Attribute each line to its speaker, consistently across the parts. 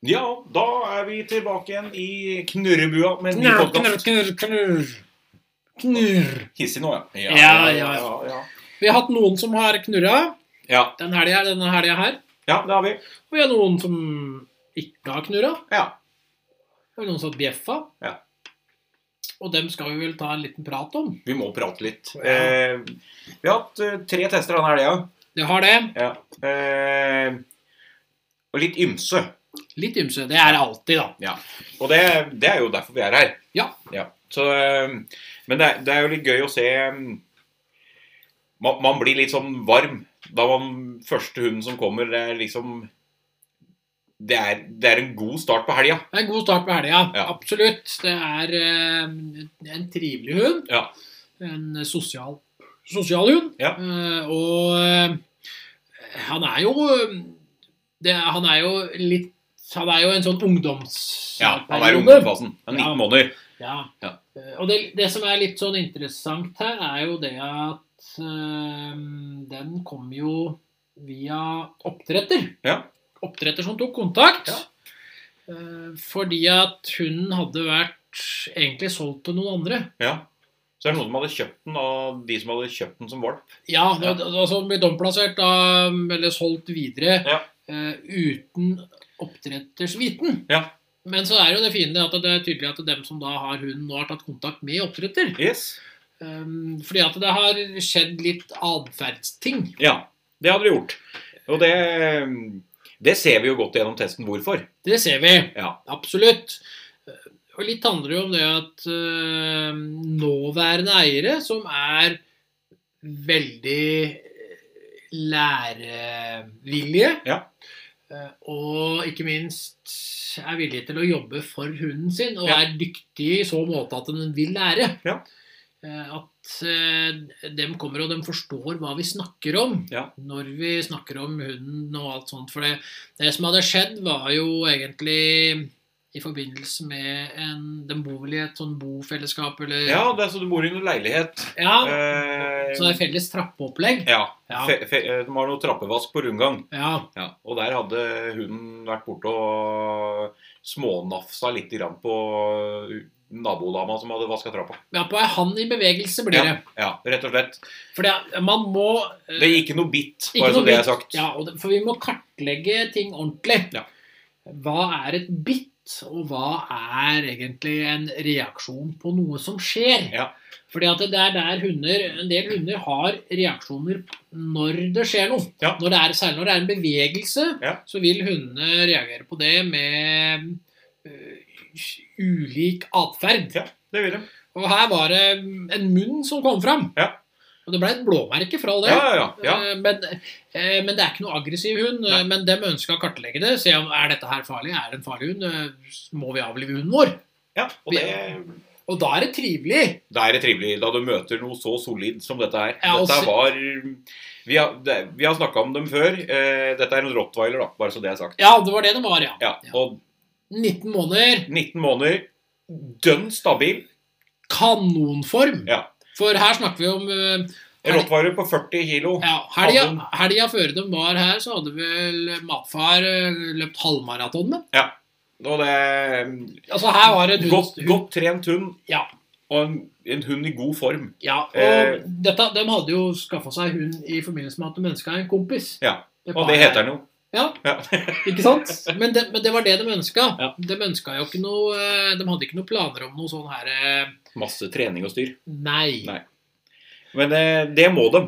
Speaker 1: Ja, da er vi tilbake igjen i knurrebua med en ny
Speaker 2: Knurr, knurr,
Speaker 1: podkast.
Speaker 2: knurr, knurr. Knurr.
Speaker 1: Hissig nå, ja.
Speaker 2: Ja, ja,
Speaker 1: ja, ja.
Speaker 2: Vi har hatt noen som har knurra
Speaker 1: Ja,
Speaker 2: den helga, denne helga her.
Speaker 1: ja det har vi.
Speaker 2: Og vi har noen som ikke har knurra.
Speaker 1: Ja.
Speaker 2: Og noen som har bjeffa.
Speaker 1: Ja.
Speaker 2: Og dem skal vi vel ta en liten prat om.
Speaker 1: Vi må prate litt. Eh, vi har hatt eh, tre tester denne helga.
Speaker 2: Det har det.
Speaker 1: Ja. Eh, og litt ymse.
Speaker 2: Litt ymse. Det er det alltid, da.
Speaker 1: Og det, det er jo derfor vi er her.
Speaker 2: Ja.
Speaker 1: Så, eh, men det, er- det er jo litt gøy å se eh, man, man blir litt sånn varm da man Første hunden som kommer, det er liksom Det er, det er en god start på helga.
Speaker 2: Det er en god start på helga.
Speaker 1: Ja.
Speaker 2: Absolutt. Det er eh, en trivelig hund.
Speaker 1: Ja.
Speaker 2: En sosial, sosial hund.
Speaker 1: Ja.
Speaker 2: Eh, og eh, han er jo det, er- Han er jo litt Han er jo en sånn ungdomsperiode.
Speaker 1: Ja, han er i ungdomsfasen. Han er
Speaker 2: Ja.
Speaker 1: 19 måneder.
Speaker 2: Ja.
Speaker 1: Ja.
Speaker 2: Eh, Og det, det som er litt sånn interessant her, er jo det at eh, den kom jo via oppdretter.
Speaker 1: Ja.
Speaker 2: Oppdretter som tok kontakt.
Speaker 1: Ja.
Speaker 2: Eh, fordi at hunden hadde vært egentlig solgt til noen andre.
Speaker 1: Ja. Så det er noen som hadde kjøpt den av de som hadde kjøpt den som valp.
Speaker 2: Ja,
Speaker 1: Ja.
Speaker 2: ja. altså ble domplassert da, eller solgt videre
Speaker 1: Ja.
Speaker 2: eh, uten oppdretters viten.
Speaker 1: Ja.
Speaker 2: Men så er jo det fine at det er tydelig at dem som da har hunden, nå har tatt kontakt med oppdretter.
Speaker 1: Yes.
Speaker 2: Um, fordi at det har skjedd litt atferdsting.
Speaker 1: Ja, det hadde de gjort. Og det, det ser vi jo godt gjennom testen hvorfor.
Speaker 2: Det ser vi.
Speaker 1: Ja.
Speaker 2: Absolutt. Eh, Og litt handler det jo om det at eh, nåværende eiere, som er veldig eh, lærevillige,
Speaker 1: Ja.
Speaker 2: eh, og ikke minst er villige til å jobbe for hunden sin, og
Speaker 1: Ja.
Speaker 2: er dyktig i så måte at den vil lære.
Speaker 1: Ja.
Speaker 2: Eh, At eh, dem kommer og dem forstår hva vi snakker om
Speaker 1: Ja.
Speaker 2: når vi snakker om hunden og alt sånt. For det, det som hadde skjedd, var jo egentlig i forbindelse med en De bor vel i et sånn bofellesskap, eller
Speaker 1: Ja, det er så du bor i en leilighet.
Speaker 2: Mm. Ja,
Speaker 1: Eh,
Speaker 2: Så det er felles trappeopplegg?
Speaker 1: ja.
Speaker 2: Ja.
Speaker 1: Fe, fe, eh, de har noe trappevask på rundgang.
Speaker 2: Ja.
Speaker 1: Ja. Og der hadde hunden vært borte og smånafsa litt grann på eh, nabodama som hadde vaska trappa.
Speaker 2: ja på ei hand i bevegelse blir det.
Speaker 1: Ja, rett og slett.
Speaker 2: For det, man må eh,
Speaker 1: Det gikk ikke noe bitt,
Speaker 2: ikke
Speaker 1: bare
Speaker 2: noe
Speaker 1: så det er
Speaker 2: bitt.
Speaker 1: sagt.
Speaker 2: Ja, og det, For vi må kartlegge ting ordentlig.
Speaker 1: Ja.
Speaker 2: Hva er et bitt, og hva er egentlig en reaksjon på noe som skjer?
Speaker 1: Ja.
Speaker 2: Fordi at det er der hunder, En del hunder har reaksjoner når det skjer noe.
Speaker 1: Ja.
Speaker 2: Når det er, særlig når det er en bevegelse,
Speaker 1: Ja.
Speaker 2: så vil hundene reagere på det med øh, ulik atferd.
Speaker 1: Det vil de.
Speaker 2: Og her var det en munn som kom fram.
Speaker 1: Ja.
Speaker 2: Og det ble et blåmerke fra det.
Speaker 1: Ja, ja, ja.
Speaker 2: Eh, Men, eh, men det er ikke noe aggressiv hund. eh,
Speaker 1: Nei.
Speaker 2: Men dem ønska å kartlegge det. Se om er dette her farlig. Er det en farlig hund? Eh, Må vi avlive hunden vår?
Speaker 1: ja. Og det,
Speaker 2: Og da er det trivelig.
Speaker 1: det er trivelig da du møter noe så solid som dette her.
Speaker 2: Ja, og
Speaker 1: Dette
Speaker 2: så-
Speaker 1: var Vi har, det- vi har snakka om dem før. Eh, Dette er en rottweiler, da, bare så det er sagt.
Speaker 2: Ja, det var det det var, ja.
Speaker 1: Ja, Og
Speaker 2: 19 måneder,
Speaker 1: 19 måneder, dønn stabil.
Speaker 2: kanonform.
Speaker 1: Ja.
Speaker 2: For her snakker vi om eh,
Speaker 1: En rottweiler på 40 kilo.
Speaker 2: ja, helga, helga før de var her, så hadde vel matfar eh, løpt halvmaraton med.
Speaker 1: Og det er
Speaker 2: Altså, her var det en hund,
Speaker 1: godt,
Speaker 2: hund
Speaker 1: godt trent hund.
Speaker 2: Ja.
Speaker 1: Og en, en hund i god form.
Speaker 2: Ja, og
Speaker 1: Eh,
Speaker 2: dette, de hadde jo skaffa seg hund i forbindelse med at de ønska en kompis.
Speaker 1: Ja, Og
Speaker 2: var-
Speaker 1: det heter den jo.
Speaker 2: Ja,
Speaker 1: Ja.
Speaker 2: ikke sant? Men det, men det var det de ønska.
Speaker 1: Ja.
Speaker 2: De ønsket jo ikke noe eh, De hadde ikke noe planer om noe sånn her eh,
Speaker 1: Masse trening og styr.
Speaker 2: Nei.
Speaker 1: Nei. Men eh, det må de.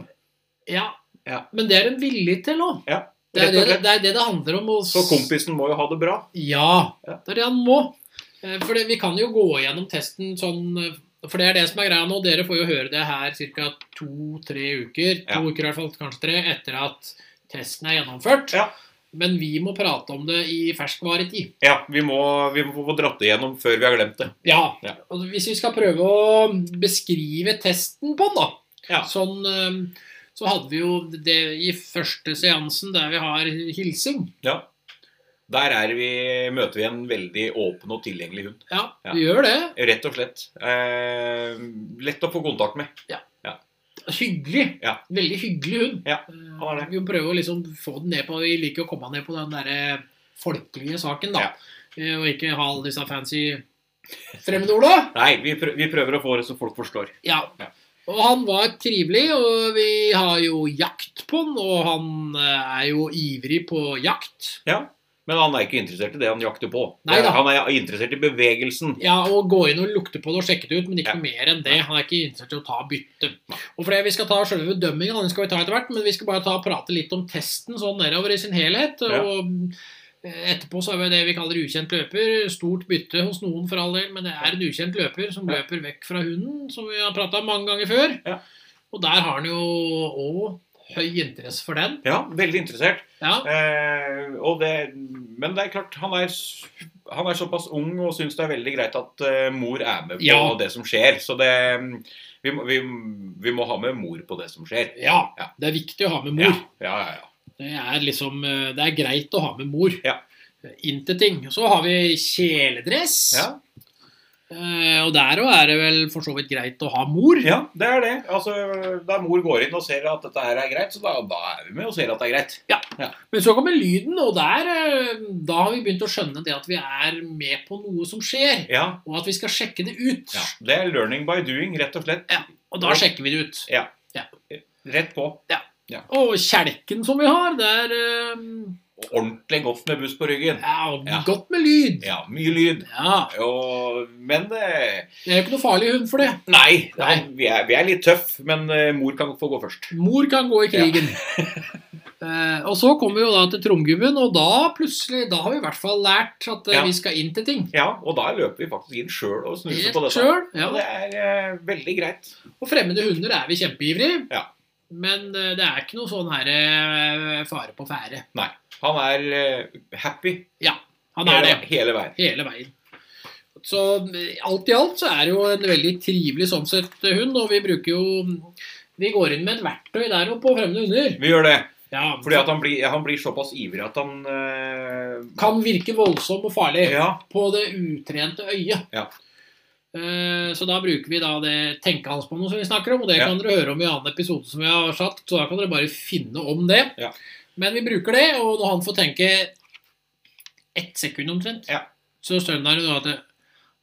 Speaker 2: Ja.
Speaker 1: Ja.
Speaker 2: Men det er de villige til òg.
Speaker 1: Ja,
Speaker 2: Det er
Speaker 1: rett og
Speaker 2: det,
Speaker 1: slett.
Speaker 2: det er det det handler om. å s-
Speaker 1: Så kompisen må jo ha det bra.
Speaker 2: Ja.
Speaker 1: Ja.
Speaker 2: Det er det han må. Eh, For det, vi kan jo gå gjennom testen sånn eh, For det er det som er greia nå. Dere får jo høre det her ca. to-tre uker. To
Speaker 1: Ja.
Speaker 2: uker i hvert fall, kanskje tre, etter at testen er gjennomført.
Speaker 1: Ja.
Speaker 2: Men vi må prate om det i ferskvaretid.
Speaker 1: Ja, vi må, vi må få dratt det igjennom før vi har glemt det.
Speaker 2: Ja.
Speaker 1: Ja.
Speaker 2: og Hvis vi skal prøve å beskrive testen på den, da.
Speaker 1: Ja.
Speaker 2: Sånn, eh, så hadde vi jo det i første seansen der vi har hilsing.
Speaker 1: Der er vi, møter vi en veldig åpen og tilgjengelig hund.
Speaker 2: Ja,
Speaker 1: Ja.
Speaker 2: vi gjør det.
Speaker 1: Rett og slett. Eh, lett å få kontakt med.
Speaker 2: Hyggelig.
Speaker 1: Ja.
Speaker 2: Veldig hyggelig hund.
Speaker 1: Ja,
Speaker 2: Eh,
Speaker 1: han er det.
Speaker 2: Vi må prøve å liksom få den ned på Vi liker å komme ned på den derre folkelige saken, da. Eh, Og ikke ha alle disse fancy fremmedorda.
Speaker 1: Nei, vi prøver, vi prøver å få det så folk forstår.
Speaker 2: Ja.
Speaker 1: Ja.
Speaker 2: Og han var trivelig, og vi har jo jakt på han, og han eh, er jo ivrig på jakt.
Speaker 1: Ja, Men han er ikke interessert i det han jakter på.
Speaker 2: Nei da.
Speaker 1: Han er interessert i bevegelsen.
Speaker 2: Ja, og gå inn og lukte på det og sjekke det ut, men ikke
Speaker 1: Ja.
Speaker 2: noe mer enn det. Han er ikke interessert i å ta bytte. Og fordi Vi skal ta selve dømmingen, den skal vi ta etter hvert, men vi skal bare ta og prate litt om testen sånn nedover i sin helhet.
Speaker 1: Ja.
Speaker 2: og eh, Etterpå så er vi det vi kaller ukjent løper. Stort bytte hos noen, for all del, men det er en ukjent løper som
Speaker 1: Ja.
Speaker 2: løper vekk fra hunden, som vi har prata om mange ganger før.
Speaker 1: Ja.
Speaker 2: Og der har han jo òg høy interesse for den.
Speaker 1: Ja, veldig interessert.
Speaker 2: Ja,
Speaker 1: Eh, og det, men det er klart, han er, s- han er såpass ung og syns det er veldig greit at eh, mor er med på
Speaker 2: Ja.
Speaker 1: det som skjer. Så det, vi, må- vi, vi må ha med mor på det som skjer.
Speaker 2: ja.
Speaker 1: Ja.
Speaker 2: Det er viktig å ha med mor.
Speaker 1: Ja, ja, ja, ja.
Speaker 2: Det er liksom eh, Det er greit å ha med mor.
Speaker 1: Ja.
Speaker 2: Inn til ting. Så har vi kjeledress.
Speaker 1: ja.
Speaker 2: Eh, og der òg er det vel for så vidt greit å ha mor.
Speaker 1: ja det er det. Altså, da mor går inn og ser at dette her er greit, så da, da er vi med og ser at det er greit.
Speaker 2: Men så kommer lyden, og der eh, Da har vi begynt å skjønne det at vi er med på noe som skjer.
Speaker 1: Ja,
Speaker 2: Og at vi skal sjekke det ut.
Speaker 1: ja. Det er learning by doing, rett og slett.
Speaker 2: Og da sjekker vi det ut.
Speaker 1: Rett på.
Speaker 2: Og kjelken som vi har, det er eh,
Speaker 1: Ordentlig godt med buss på ryggen.
Speaker 2: ja,
Speaker 1: Ja.
Speaker 2: godt med lyd.
Speaker 1: Ja, mye lyd.
Speaker 2: Ja.
Speaker 1: Og, men eh,
Speaker 2: Det er jo ikke noe farlig hund for det.
Speaker 1: Nei,
Speaker 2: Nei.
Speaker 1: han- Vi, er, vi er litt tøff, men eh, mor kan få gå først.
Speaker 2: Mor kan gå i krigen. Eh, og så kommer vi jo da til tromgubben, og da plutselig, da har vi i hvert fall lært at eh,
Speaker 1: Ja.
Speaker 2: vi skal inn til ting.
Speaker 1: Ja, og da løper vi faktisk inn sjøl og snuser på
Speaker 2: Helt
Speaker 1: dette.
Speaker 2: sjøl. Ja.
Speaker 1: Og Det er eh, veldig greit.
Speaker 2: Og fremmede hunder er vi kjempeivrige.
Speaker 1: Ja.
Speaker 2: Men eh, det er ikke noe sånn her eh, fare på ferde.
Speaker 1: Han er eh, happy
Speaker 2: Han er det
Speaker 1: hele, hele veien.
Speaker 2: hele veien. Så eh, alt i alt så er det jo en veldig trivelig sånn sett eh, hund, og vi bruker jo Vi går inn med et verktøy der oppe på fremmede hunder.
Speaker 1: Vi gjør det
Speaker 2: Ja,
Speaker 1: fordi at han blir, han blir såpass ivrig at han eh,
Speaker 2: Kan virke voldsom og farlig.
Speaker 1: Ja.
Speaker 2: på det utrente øyet.
Speaker 1: Ja.
Speaker 2: Eh, Så da bruker vi da det tenkehalsbåndet som vi snakker om, og det
Speaker 1: Ja.
Speaker 2: kan dere høre om i annen episode som vi har satt, så da kan dere bare finne om det.
Speaker 1: Ja.
Speaker 2: Men vi bruker det, og når han får tenke ett sekund omtrent,
Speaker 1: Ja.
Speaker 2: så skjønner han jo da at det,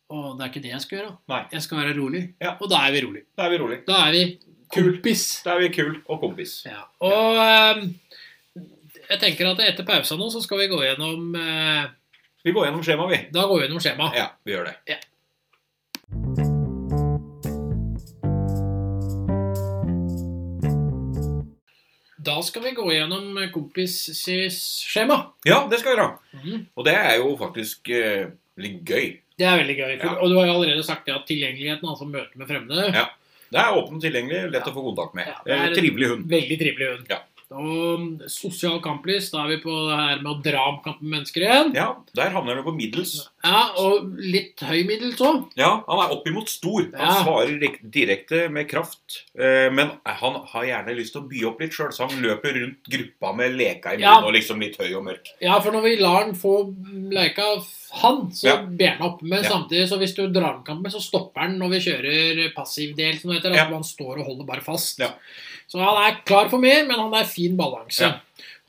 Speaker 2: å, det er ikke det jeg skal gjøre.
Speaker 1: Nei.
Speaker 2: Jeg skal være rolig.
Speaker 1: Ja.
Speaker 2: Og da er vi rolig.
Speaker 1: Da er vi rolig.
Speaker 2: Da er vi
Speaker 1: Kul.
Speaker 2: kompis.
Speaker 1: Da er vi kul og kompis.
Speaker 2: Ja. Og eh, jeg tenker at etter pausa nå, så skal vi gå gjennom eh,
Speaker 1: Vi går gjennom skjemaet, vi.
Speaker 2: Da går vi gjennom skjemaet.
Speaker 1: Ja, vi gjør det.
Speaker 2: Ja. Da skal vi gå gjennom kompis-skjema.
Speaker 1: Ja, det skal vi gjøre. Og det er jo faktisk eh, litt gøy.
Speaker 2: Det er veldig gøy. For,
Speaker 1: Ja.
Speaker 2: Og du har jo allerede sagt det at tilgjengeligheten, altså møte med fremmede,
Speaker 1: Ja. Det er åpent tilgjengelig, lett å få kontakt med.
Speaker 2: Ja, det er-
Speaker 1: Eh, Trivelig hund.
Speaker 2: veldig trivelig hund.
Speaker 1: Ja.
Speaker 2: Og mm, sosial kamplyst, da er vi på det her med å dra om kamp med mennesker igjen.
Speaker 1: Ja, der havner du på middels.
Speaker 2: Ja, og litt høy middels òg.
Speaker 1: Ja, han er oppimot stor. Han
Speaker 2: Ja.
Speaker 1: svarer rik- direkte med kraft. eh, Men han har gjerne lyst til å by opp litt sjøl, så han løper rundt gruppa med leka i munnen
Speaker 2: Ja.
Speaker 1: og liksom litt høy og mørk.
Speaker 2: Ja, for når vi lar han få leika han, så
Speaker 1: Ja.
Speaker 2: ber han opp. Men
Speaker 1: Ja.
Speaker 2: samtidig, så hvis du drar om kamp med, så stopper han når vi kjører passiv del. Som det heter,
Speaker 1: Ja.
Speaker 2: at han står og holder bare fast.
Speaker 1: Ja.
Speaker 2: Så han er klar for mer, men han er fin balanse.
Speaker 1: Ja.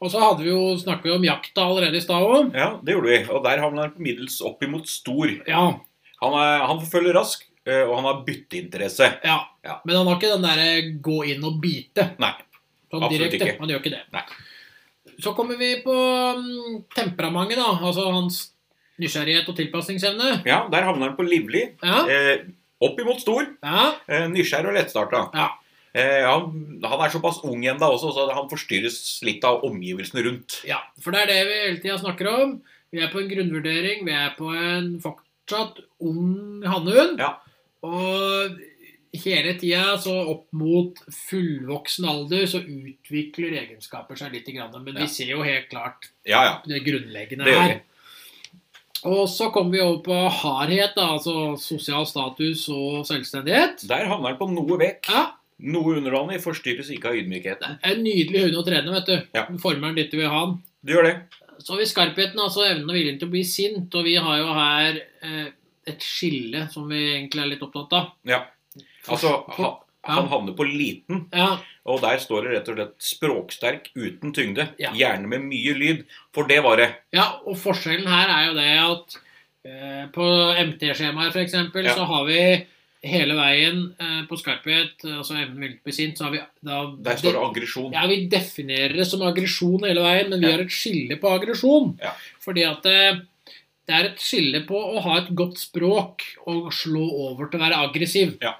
Speaker 2: Og så hadde vi jo, snakket vi om jakta allerede i stad òg.
Speaker 1: Ja, det gjorde vi. Og der havner han på middels oppimot stor.
Speaker 2: Ja,
Speaker 1: Han, er, han forfølger rask, eh, og han har bytteinteresse.
Speaker 2: ja.
Speaker 1: Ja.
Speaker 2: Men han har ikke den derre gå inn og bite.
Speaker 1: Nei,
Speaker 2: Sånn
Speaker 1: absolutt
Speaker 2: direkte.
Speaker 1: ikke.
Speaker 2: Han gjør ikke det.
Speaker 1: Nei.
Speaker 2: Så kommer vi på mm, temperamentet, da. Altså hans nysgjerrighet og tilpasningsevne.
Speaker 1: Ja, der havner han på livlig.
Speaker 2: Ja,
Speaker 1: Eh, oppimot stor.
Speaker 2: ja,
Speaker 1: Eh, Nysgjerrig og lettstarta.
Speaker 2: Ja.
Speaker 1: Eh, han, han er såpass ung ennå også, så han forstyrres litt av omgivelsene rundt.
Speaker 2: Ja, for det er det vi hele tida snakker om. Vi er på en grunnvurdering. Vi er på en fortsatt ung hannhund.
Speaker 1: Ja.
Speaker 2: Og hele tida, så opp mot fullvoksen alder, så utvikler egenskaper seg litt. Grann, men
Speaker 1: Ja.
Speaker 2: vi ser jo helt klart
Speaker 1: Ja, ja.
Speaker 2: det grunnleggende
Speaker 1: Det gjør
Speaker 2: her. Og så kommer vi over på hardhet, da, altså sosial status og selvstendighet.
Speaker 1: Der havner han på noe vekk.
Speaker 2: Ja,
Speaker 1: Noe underdanig forstyrres ikke av ydmykhet.
Speaker 2: det er En nydelig hund å trene, vet du.
Speaker 1: Ja.
Speaker 2: Den Former den dit du vil ha den.
Speaker 1: Du gjør det.
Speaker 2: Så har vi skarpheten, altså evnen og viljen til å bli sint. Og vi har jo her eh, et skille som vi egentlig er litt opptatt av.
Speaker 1: Ja. Altså, ha, Han
Speaker 2: Ja.
Speaker 1: havner på liten,
Speaker 2: Ja,
Speaker 1: og der står det rett og slett 'språksterk uten tyngde'.
Speaker 2: Ja.
Speaker 1: Gjerne med mye lyd, for det var det.
Speaker 2: ja og forskjellen her er jo det at eh, på MT-skjemaet f.eks. eksempel
Speaker 1: Ja.
Speaker 2: så har vi hele veien eh, på skarphet, altså evnen villet besint, så har vi da
Speaker 1: Der står det aggresjon.
Speaker 2: Ja, vi definerer det som aggresjon hele veien, men vi
Speaker 1: Ja.
Speaker 2: har et skille på aggresjon.
Speaker 1: Ja.
Speaker 2: Fordi at eh, det er et skille på å ha et godt språk og slå over til å være aggressiv. Det,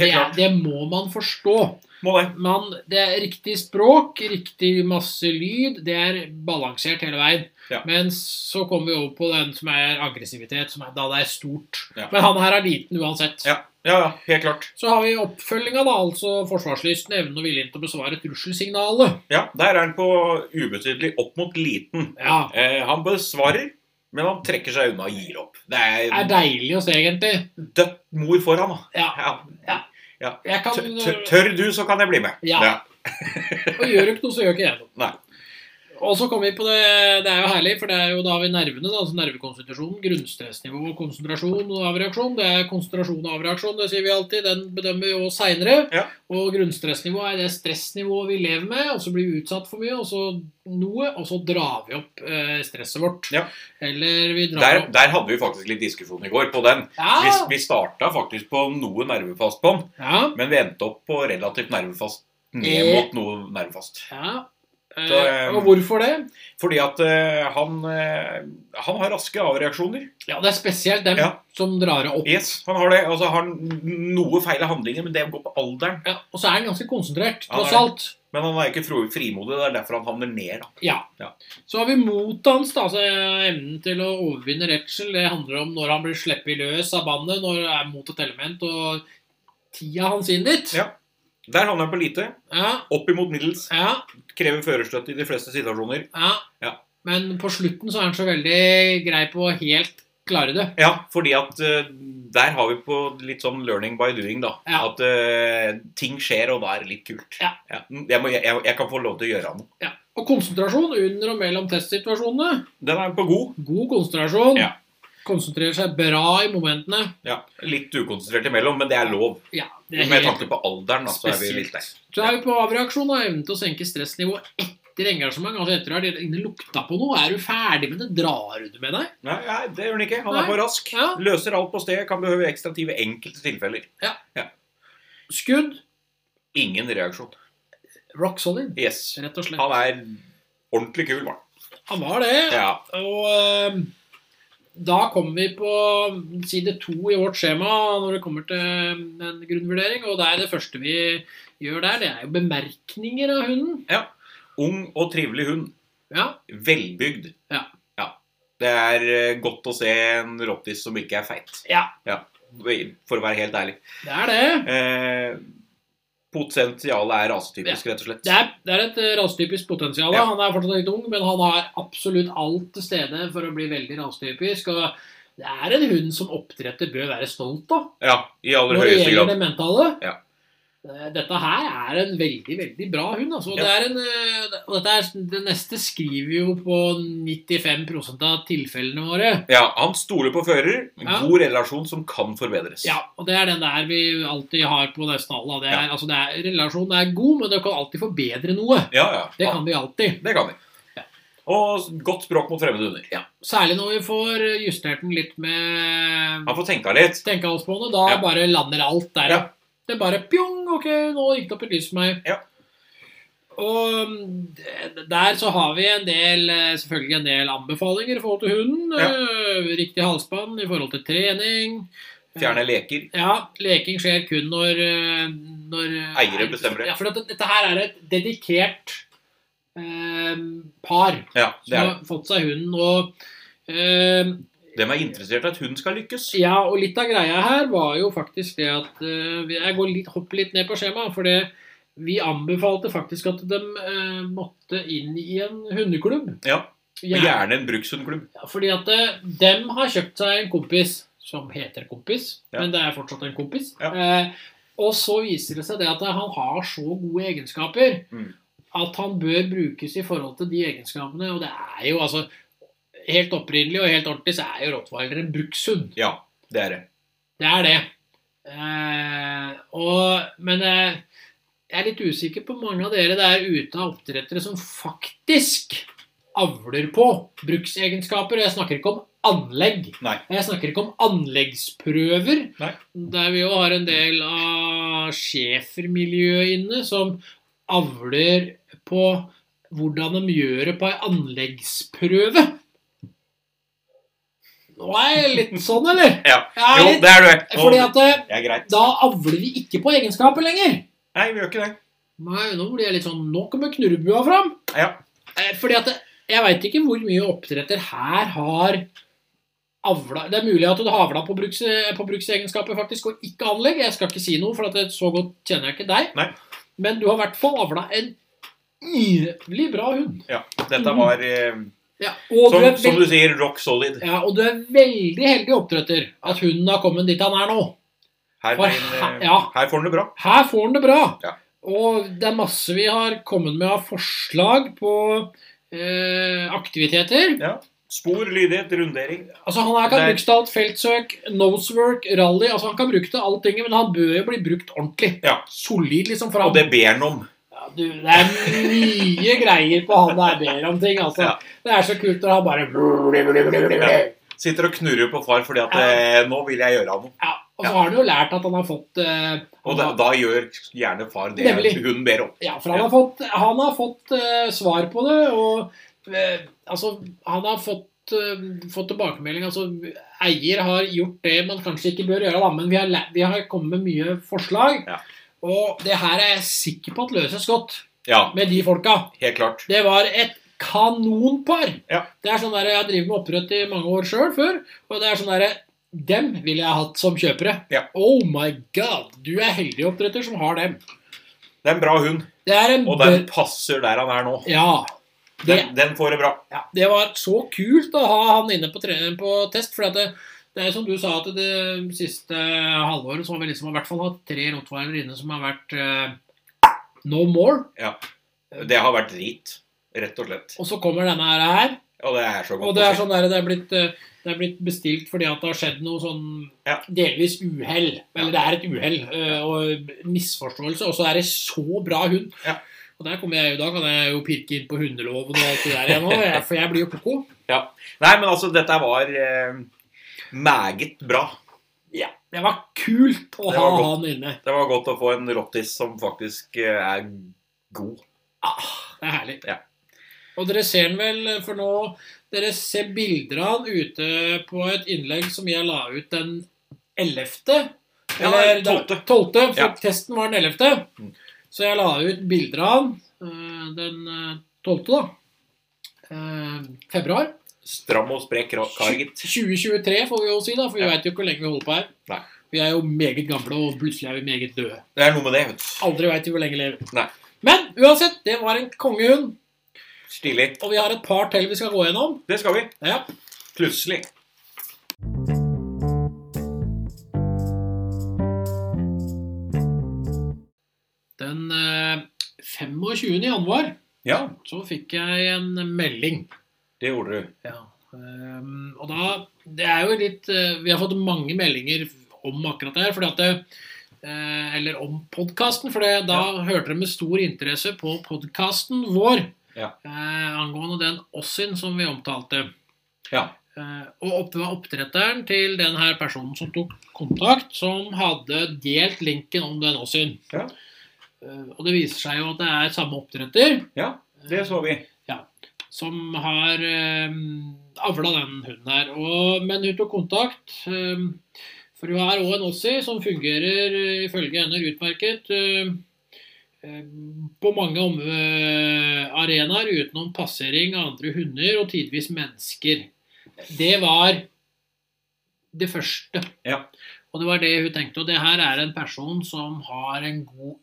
Speaker 1: Helt
Speaker 2: er,
Speaker 1: klart.
Speaker 2: det må man forstå.
Speaker 1: Må det.
Speaker 2: Man, det er riktig språk, riktig masse lyd, det er balansert hele veien.
Speaker 1: Ja.
Speaker 2: Men så kommer vi over på den som er aggressivitet, som er da det er stort.
Speaker 1: Ja.
Speaker 2: Men han her er liten uansett.
Speaker 1: Ja. Ja, ja, helt klart.
Speaker 2: Så har vi oppfølginga, da. Altså forsvarslysten, evnen og viljen til å besvare trusselsignalet.
Speaker 1: Ja, Der er han på ubetydelig opp mot liten.
Speaker 2: Ja.
Speaker 1: Eh, han besvarer, men han trekker seg unna og gir opp. Det
Speaker 2: Det er
Speaker 1: er
Speaker 2: deilig å se, egentlig.
Speaker 1: dødt mor foran, da.
Speaker 2: Ja.
Speaker 1: Ja.
Speaker 2: Jeg kan,
Speaker 1: Tør, tør- tør du, så kan jeg bli med.
Speaker 2: Ja. og gjør du ikke noe, så gjør ikke jeg noe.
Speaker 1: Nei.
Speaker 2: Og så kommer vi på det Det er jo herlig, for det er jo da har vi nervene. Da, altså nervekonstitusjon, grunnstressnivå, konsentrasjon og avreaksjon. Det er konsentrasjon og avreaksjon, det sier vi alltid. Den bedømmer vi også seinere.
Speaker 1: Ja.
Speaker 2: Og grunnstressnivå er det stressnivået vi lever med, og så blir vi utsatt for mye, og så noe, og så drar vi opp eh, stresset vårt.
Speaker 1: Ja.
Speaker 2: Eller vi drar
Speaker 1: Der,
Speaker 2: opp
Speaker 1: der hadde vi faktisk litt diskusjon i går på den. Vi,
Speaker 2: ja,
Speaker 1: vi starta faktisk på noe nervefast på den,
Speaker 2: ja,
Speaker 1: men vi endte opp på relativt nervefast ned
Speaker 2: Eh.
Speaker 1: mot noe nervefast.
Speaker 2: ja.
Speaker 1: Så,
Speaker 2: Eh,
Speaker 1: eh,
Speaker 2: og hvorfor det?
Speaker 1: Fordi at eh, han, eh, han har raske avreaksjoner.
Speaker 2: Ja, det er spesielt dem
Speaker 1: Ja.
Speaker 2: som drar det opp.
Speaker 1: Yes, han har det. Altså, har han noe feil av handlinger, men det går på alderen.
Speaker 2: Ja, og så er han ganske konsentrert,
Speaker 1: Ja, det er
Speaker 2: tross
Speaker 1: det.
Speaker 2: alt. da
Speaker 1: Men han er ikke fro- frimodig. Det er derfor han havner ned. da.
Speaker 2: Så har vi motet hans, da, altså evnen til å overvinne redsel. Det handler om når han blir sluppet løs av bandet, når det er mot et element, og tida hans inn dit.
Speaker 1: Ja. Der havner han på lite.
Speaker 2: ja,
Speaker 1: Opp imot middels.
Speaker 2: ja.
Speaker 1: Krever førerstøtte i de fleste situasjoner.
Speaker 2: ja.
Speaker 1: Ja.
Speaker 2: Men på slutten så er han så veldig grei på å helt klare det.
Speaker 1: Ja, fordi at eh, der har vi på litt sånn learning by doing, da.
Speaker 2: Ja.
Speaker 1: At eh, ting skjer, og da er det litt kult.
Speaker 2: Ja.
Speaker 1: Jeg, må, jeg, jeg kan få lov til å gjøre noe.
Speaker 2: Ja. Og konsentrasjon under og mellom testsituasjonene.
Speaker 1: Den er på god.
Speaker 2: God konsentrasjon.
Speaker 1: Ja.
Speaker 2: Konsentrerer seg bra i momentene.
Speaker 1: Ja, Litt ukonsentrert imellom, men det er lov.
Speaker 2: Ja, det er
Speaker 1: Med
Speaker 2: helt
Speaker 1: tanke på alderen, da, så er vi litt der.
Speaker 2: Spesielt. Så er vi på avreaksjon og evnen til å senke stressnivå etter engasjement. Altså etter at du har lukta på noe. Er du ferdig med det, drar du det med deg?
Speaker 1: Nei, nei, det gjør han ikke. Han
Speaker 2: Nei.
Speaker 1: er for rask.
Speaker 2: Ja.
Speaker 1: Løser alt på stedet. Kan behøve ekstra tid ved enkelte tilfeller.
Speaker 2: Skudd.
Speaker 1: Ingen reaksjon.
Speaker 2: Rock solid,
Speaker 1: Yes.
Speaker 2: rett og slett.
Speaker 1: Han er ordentlig kul, mann.
Speaker 2: Han var det.
Speaker 1: Ja.
Speaker 2: Og øhm, da kommer vi på side to i vårt skjema når det kommer til eh, en grunnvurdering. Og det er det første vi gjør der, det er jo bemerkninger av hunden.
Speaker 1: Ung og trivelig hund.
Speaker 2: Ja,
Speaker 1: Velbygd.
Speaker 2: Ja.
Speaker 1: Det er eh, godt å se en rottis som ikke er feit.
Speaker 2: Ja.
Speaker 1: For å være helt ærlig.
Speaker 2: det er det.
Speaker 1: Eh, potensialet er rasetypisk, rett og slett.
Speaker 2: Det er, det er et eh, rastypisk potensial. da.
Speaker 1: Ja.
Speaker 2: Han er fortsatt litt ung, men han har absolutt alt til stede for å bli veldig rastypisk. Og det er en hund som oppdretter bør være stolt av.
Speaker 1: Ja, i aller
Speaker 2: Når det
Speaker 1: høyeste
Speaker 2: gjelder
Speaker 1: grad.
Speaker 2: det mentale.
Speaker 1: Ja.
Speaker 2: Eh, Dette her er en veldig, veldig bra hund. Altså.
Speaker 1: Ja.
Speaker 2: Det, er en, eh, og dette er, det neste skriver vi jo på 95 av tilfellene våre.
Speaker 1: Ja, Han stoler på fører.
Speaker 2: Ja.
Speaker 1: God relasjon som kan forbedres.
Speaker 2: Ja, og det er den der vi alltid har på nesten alle. da. Det er,
Speaker 1: Ja.
Speaker 2: altså, det er, relasjonen er god, men du kan alltid forbedre noe.
Speaker 1: ja. ja.
Speaker 2: Det kan vi alltid.
Speaker 1: Det kan vi. Og godt språk mot fremmede hunder.
Speaker 2: Særlig når vi får justert den litt med
Speaker 1: Han får tenka litt.
Speaker 2: tenkehalsbåndet. Da
Speaker 1: Ja.
Speaker 2: bare lander alt der.
Speaker 1: Ja.
Speaker 2: Det er bare pjong, ok, nå gikk det opp et lys for meg.
Speaker 1: Ja.
Speaker 2: Og mm, d- der så har vi en del, eh, selvfølgelig en del anbefalinger i forhold til hunden.
Speaker 1: Ja.
Speaker 2: Eh, Riktig halsbånd i forhold til trening.
Speaker 1: Fjerne leker.
Speaker 2: Ja, leking skjer kun når, eh, når eh,
Speaker 1: Eiere bestemmer det.
Speaker 2: Ja, for dette, dette her er et dedikert eh, par
Speaker 1: Ja,
Speaker 2: som
Speaker 1: det er det.
Speaker 2: har fått seg hunden. Og eh,
Speaker 1: De er interessert i at hun skal lykkes.
Speaker 2: Ja, og litt av greia her var jo faktisk det at eh, Jeg går litt, hopper litt ned på skjemaet, for det, vi anbefalte faktisk at de eh, måtte inn i en hundeklubb.
Speaker 1: Ja, og
Speaker 2: Gjerne-
Speaker 1: Gjerne en brukshundklubb.
Speaker 2: Fordi at eh, dem har kjøpt seg en kompis som heter kompis,
Speaker 1: Ja.
Speaker 2: men det er fortsatt en kompis.
Speaker 1: Ja.
Speaker 2: Eh, og så viser det seg det at han har så gode egenskaper
Speaker 1: Mm.
Speaker 2: at han bør brukes i forhold til de egenskapene. Og det er jo altså Helt opprinnelig og helt ordentlig så er jo rottweiler en brukshund.
Speaker 1: Ja, det er det.
Speaker 2: Det er det. Eh, og, men jeg, jeg er litt usikker på mange av dere der ute av oppdrettere som faktisk avler på bruksegenskaper. Og jeg snakker ikke om anlegg.
Speaker 1: Nei.
Speaker 2: Jeg snakker ikke om anleggsprøver,
Speaker 1: Nei.
Speaker 2: der vi jo har en del av schæfermiljøet inne som avler på hvordan de gjør det på ei anleggsprøve. Nå er jeg litt sånn, eller?
Speaker 1: Ja.
Speaker 2: Jeg er
Speaker 1: Jo,
Speaker 2: litt,
Speaker 1: det er du.
Speaker 2: fordi at eh,
Speaker 1: Det er greit.
Speaker 2: da avler vi ikke på egenskaper lenger.
Speaker 1: Nei, vi gjør ikke det.
Speaker 2: Nei, nå blir jeg litt sånn Nå kommer knurrebua fram.
Speaker 1: Ja.
Speaker 2: Eh, Fordi at det- jeg veit ikke hvor mye oppdretter her har avla Det er mulig at du har avla på, bruks, eh, på bruksegenskaper faktisk, og ikke anlegg. Jeg skal ikke si noe, for at det, så godt kjenner jeg ikke deg.
Speaker 1: Nei.
Speaker 2: Men du har i hvert fall avla en jævlig bra hund.
Speaker 1: ja. Dette var eh,
Speaker 2: Ja, og,
Speaker 1: som,
Speaker 2: du er
Speaker 1: som
Speaker 2: veld,
Speaker 1: du sier, rock solid.
Speaker 2: ja, og du er veldig heldig oppdretter at hunden har kommet dit han er nå.
Speaker 1: Her,
Speaker 2: For
Speaker 1: blir den, eh,
Speaker 2: ja.
Speaker 1: her får den det bra.
Speaker 2: Her får han det bra.
Speaker 1: Ja.
Speaker 2: Og det er masse vi har kommet med av forslag på eh, aktiviteter.
Speaker 1: Spor, lydighet, rundering.
Speaker 2: Altså Han her kan
Speaker 1: Det er-
Speaker 2: brukes til alt. Feltsøk, nosework, rally. altså Han kan bruke til alt tinget, men han bør jo bli brukt ordentlig.
Speaker 1: Ja.
Speaker 2: Solid, liksom. For
Speaker 1: Og
Speaker 2: han,
Speaker 1: det ber den om.
Speaker 2: ja, du, det er mye greier på han der ber om ting. altså.
Speaker 1: Ja.
Speaker 2: Det er så kult når han bare
Speaker 1: Ja. Sitter og knurrer på far fordi at eh, nå vil jeg gjøre noe.
Speaker 2: ja, Og så har han jo lært at han har fått eh,
Speaker 1: Og da, da gjør gjerne far det
Speaker 2: Nemlig.
Speaker 1: hun ber om.
Speaker 2: Ja, for han
Speaker 1: Ja.
Speaker 2: har fått, han har fått eh, svar på det, og eh, altså, han har fått, eh, fått tilbakemelding. Altså, eier har gjort det man kanskje ikke bør gjøre, da, men vi har, læ- vi har kommet med mye forslag.
Speaker 1: Ja.
Speaker 2: Og det her er jeg sikker på at løses godt
Speaker 1: Ja,
Speaker 2: med de folka.
Speaker 1: helt klart.
Speaker 2: Det var et kanonpar.
Speaker 1: Ja.
Speaker 2: Det er sånn der, Jeg har drevet med oppdrett i mange år sjøl før, og det er sånn derre dem ville jeg hatt som kjøpere.
Speaker 1: Ja.
Speaker 2: Oh my god! Du er heldig oppdretter som har dem.
Speaker 1: Det er en bra hund,
Speaker 2: Det er en
Speaker 1: og den passer der han er nå.
Speaker 2: bø- Ja. Det,
Speaker 1: Den, den får det bra.
Speaker 2: Ja, det var så kult å ha han inne på, tre- på test. For det, det er som du sa, at det siste halvåret så har vi liksom i hvert fall hatt tre rottweilere inne som har vært eh, no more.
Speaker 1: Det har vært drit, rett og slett.
Speaker 2: Og så kommer denne her, her
Speaker 1: Og det er så godt
Speaker 2: og
Speaker 1: å
Speaker 2: det er
Speaker 1: se.
Speaker 2: sånn der, det er blitt... eh, det er blitt bestilt fordi at det har skjedd noe sånn
Speaker 1: Ja.
Speaker 2: delvis uhell. Eller det er et uhell eh, og misforståelse, og så er det så bra hund.
Speaker 1: Ja.
Speaker 2: Og der kommer jeg jo, da kan jeg jo pirke inn på hundeloven og alt det der igjen nå, jeg- for jeg blir jo koko. sånn-
Speaker 1: Nei, men altså, dette var eh, meget bra.
Speaker 2: Ja, det var kult å
Speaker 1: Det
Speaker 2: ha
Speaker 1: var godt.
Speaker 2: han inne.
Speaker 1: Det var godt å få en rottis som faktisk eh, er god.
Speaker 2: Ah, det er herlig.
Speaker 1: Ja.
Speaker 2: Og dere ser den vel, for nå Dere ser bilder av den ute på et innlegg som jeg la ut den 11.
Speaker 1: Ja,
Speaker 2: Eller
Speaker 1: nei, 12..
Speaker 2: 12., for
Speaker 1: Ja.
Speaker 2: testen var den 11.
Speaker 1: Mm.
Speaker 2: Så jeg la ut bilder av den eh, den eh, 12., da. Eh, februar.
Speaker 1: Stram og sprek ra- kar, gitt.
Speaker 2: 2023, får vi jo si, da, for vi
Speaker 1: Ja.
Speaker 2: vet veit jo ikke hvor lenge vi holder på her.
Speaker 1: Nei.
Speaker 2: Vi er jo meget gamle, og plutselig er vi meget døde.
Speaker 1: Det er noe med det. vet du.
Speaker 2: Aldri veit vi hvor lenge vi lever.
Speaker 1: Nei.
Speaker 2: Men uansett, det var en kongehund.
Speaker 1: Stilig.
Speaker 2: Og vi har et par til vi skal gå gjennom.
Speaker 1: Det skal vi.
Speaker 2: Ja.
Speaker 1: Plutselig.
Speaker 2: Den eh, 25. januar
Speaker 1: Ja,
Speaker 2: så fikk jeg en melding.
Speaker 1: det gjorde du.
Speaker 2: Ja. ehm, og da Det er jo litt eh, Vi har fått mange meldinger om akkurat det her. Fordi at det, eh, eller om podkasten, for det, da hørte dere med stor interesse på podkasten vår
Speaker 1: Ja.
Speaker 2: eh, angående den Ossin som vi omtalte.
Speaker 1: Ja.
Speaker 2: Eh, Og opp- det var oppdretteren til den her personen som tok kontakt, som hadde delt linken om den også inn.
Speaker 1: Ja.
Speaker 2: Eh, Og det viser seg jo at det er samme oppdretter
Speaker 1: Ja, det så vi.
Speaker 2: eh, som har eh, avla den hunden her. Og, men hun tok kontakt. Eh, for hun har òg en Ossi som fungerer eh, ifølge henne utmerket eh, eh, på mange om, eh, arenaer utenom passering av andre hunder og tidvis mennesker. Det var det første.
Speaker 1: Ja.
Speaker 2: Og det var det hun tenkte. Og det her er en person som har en god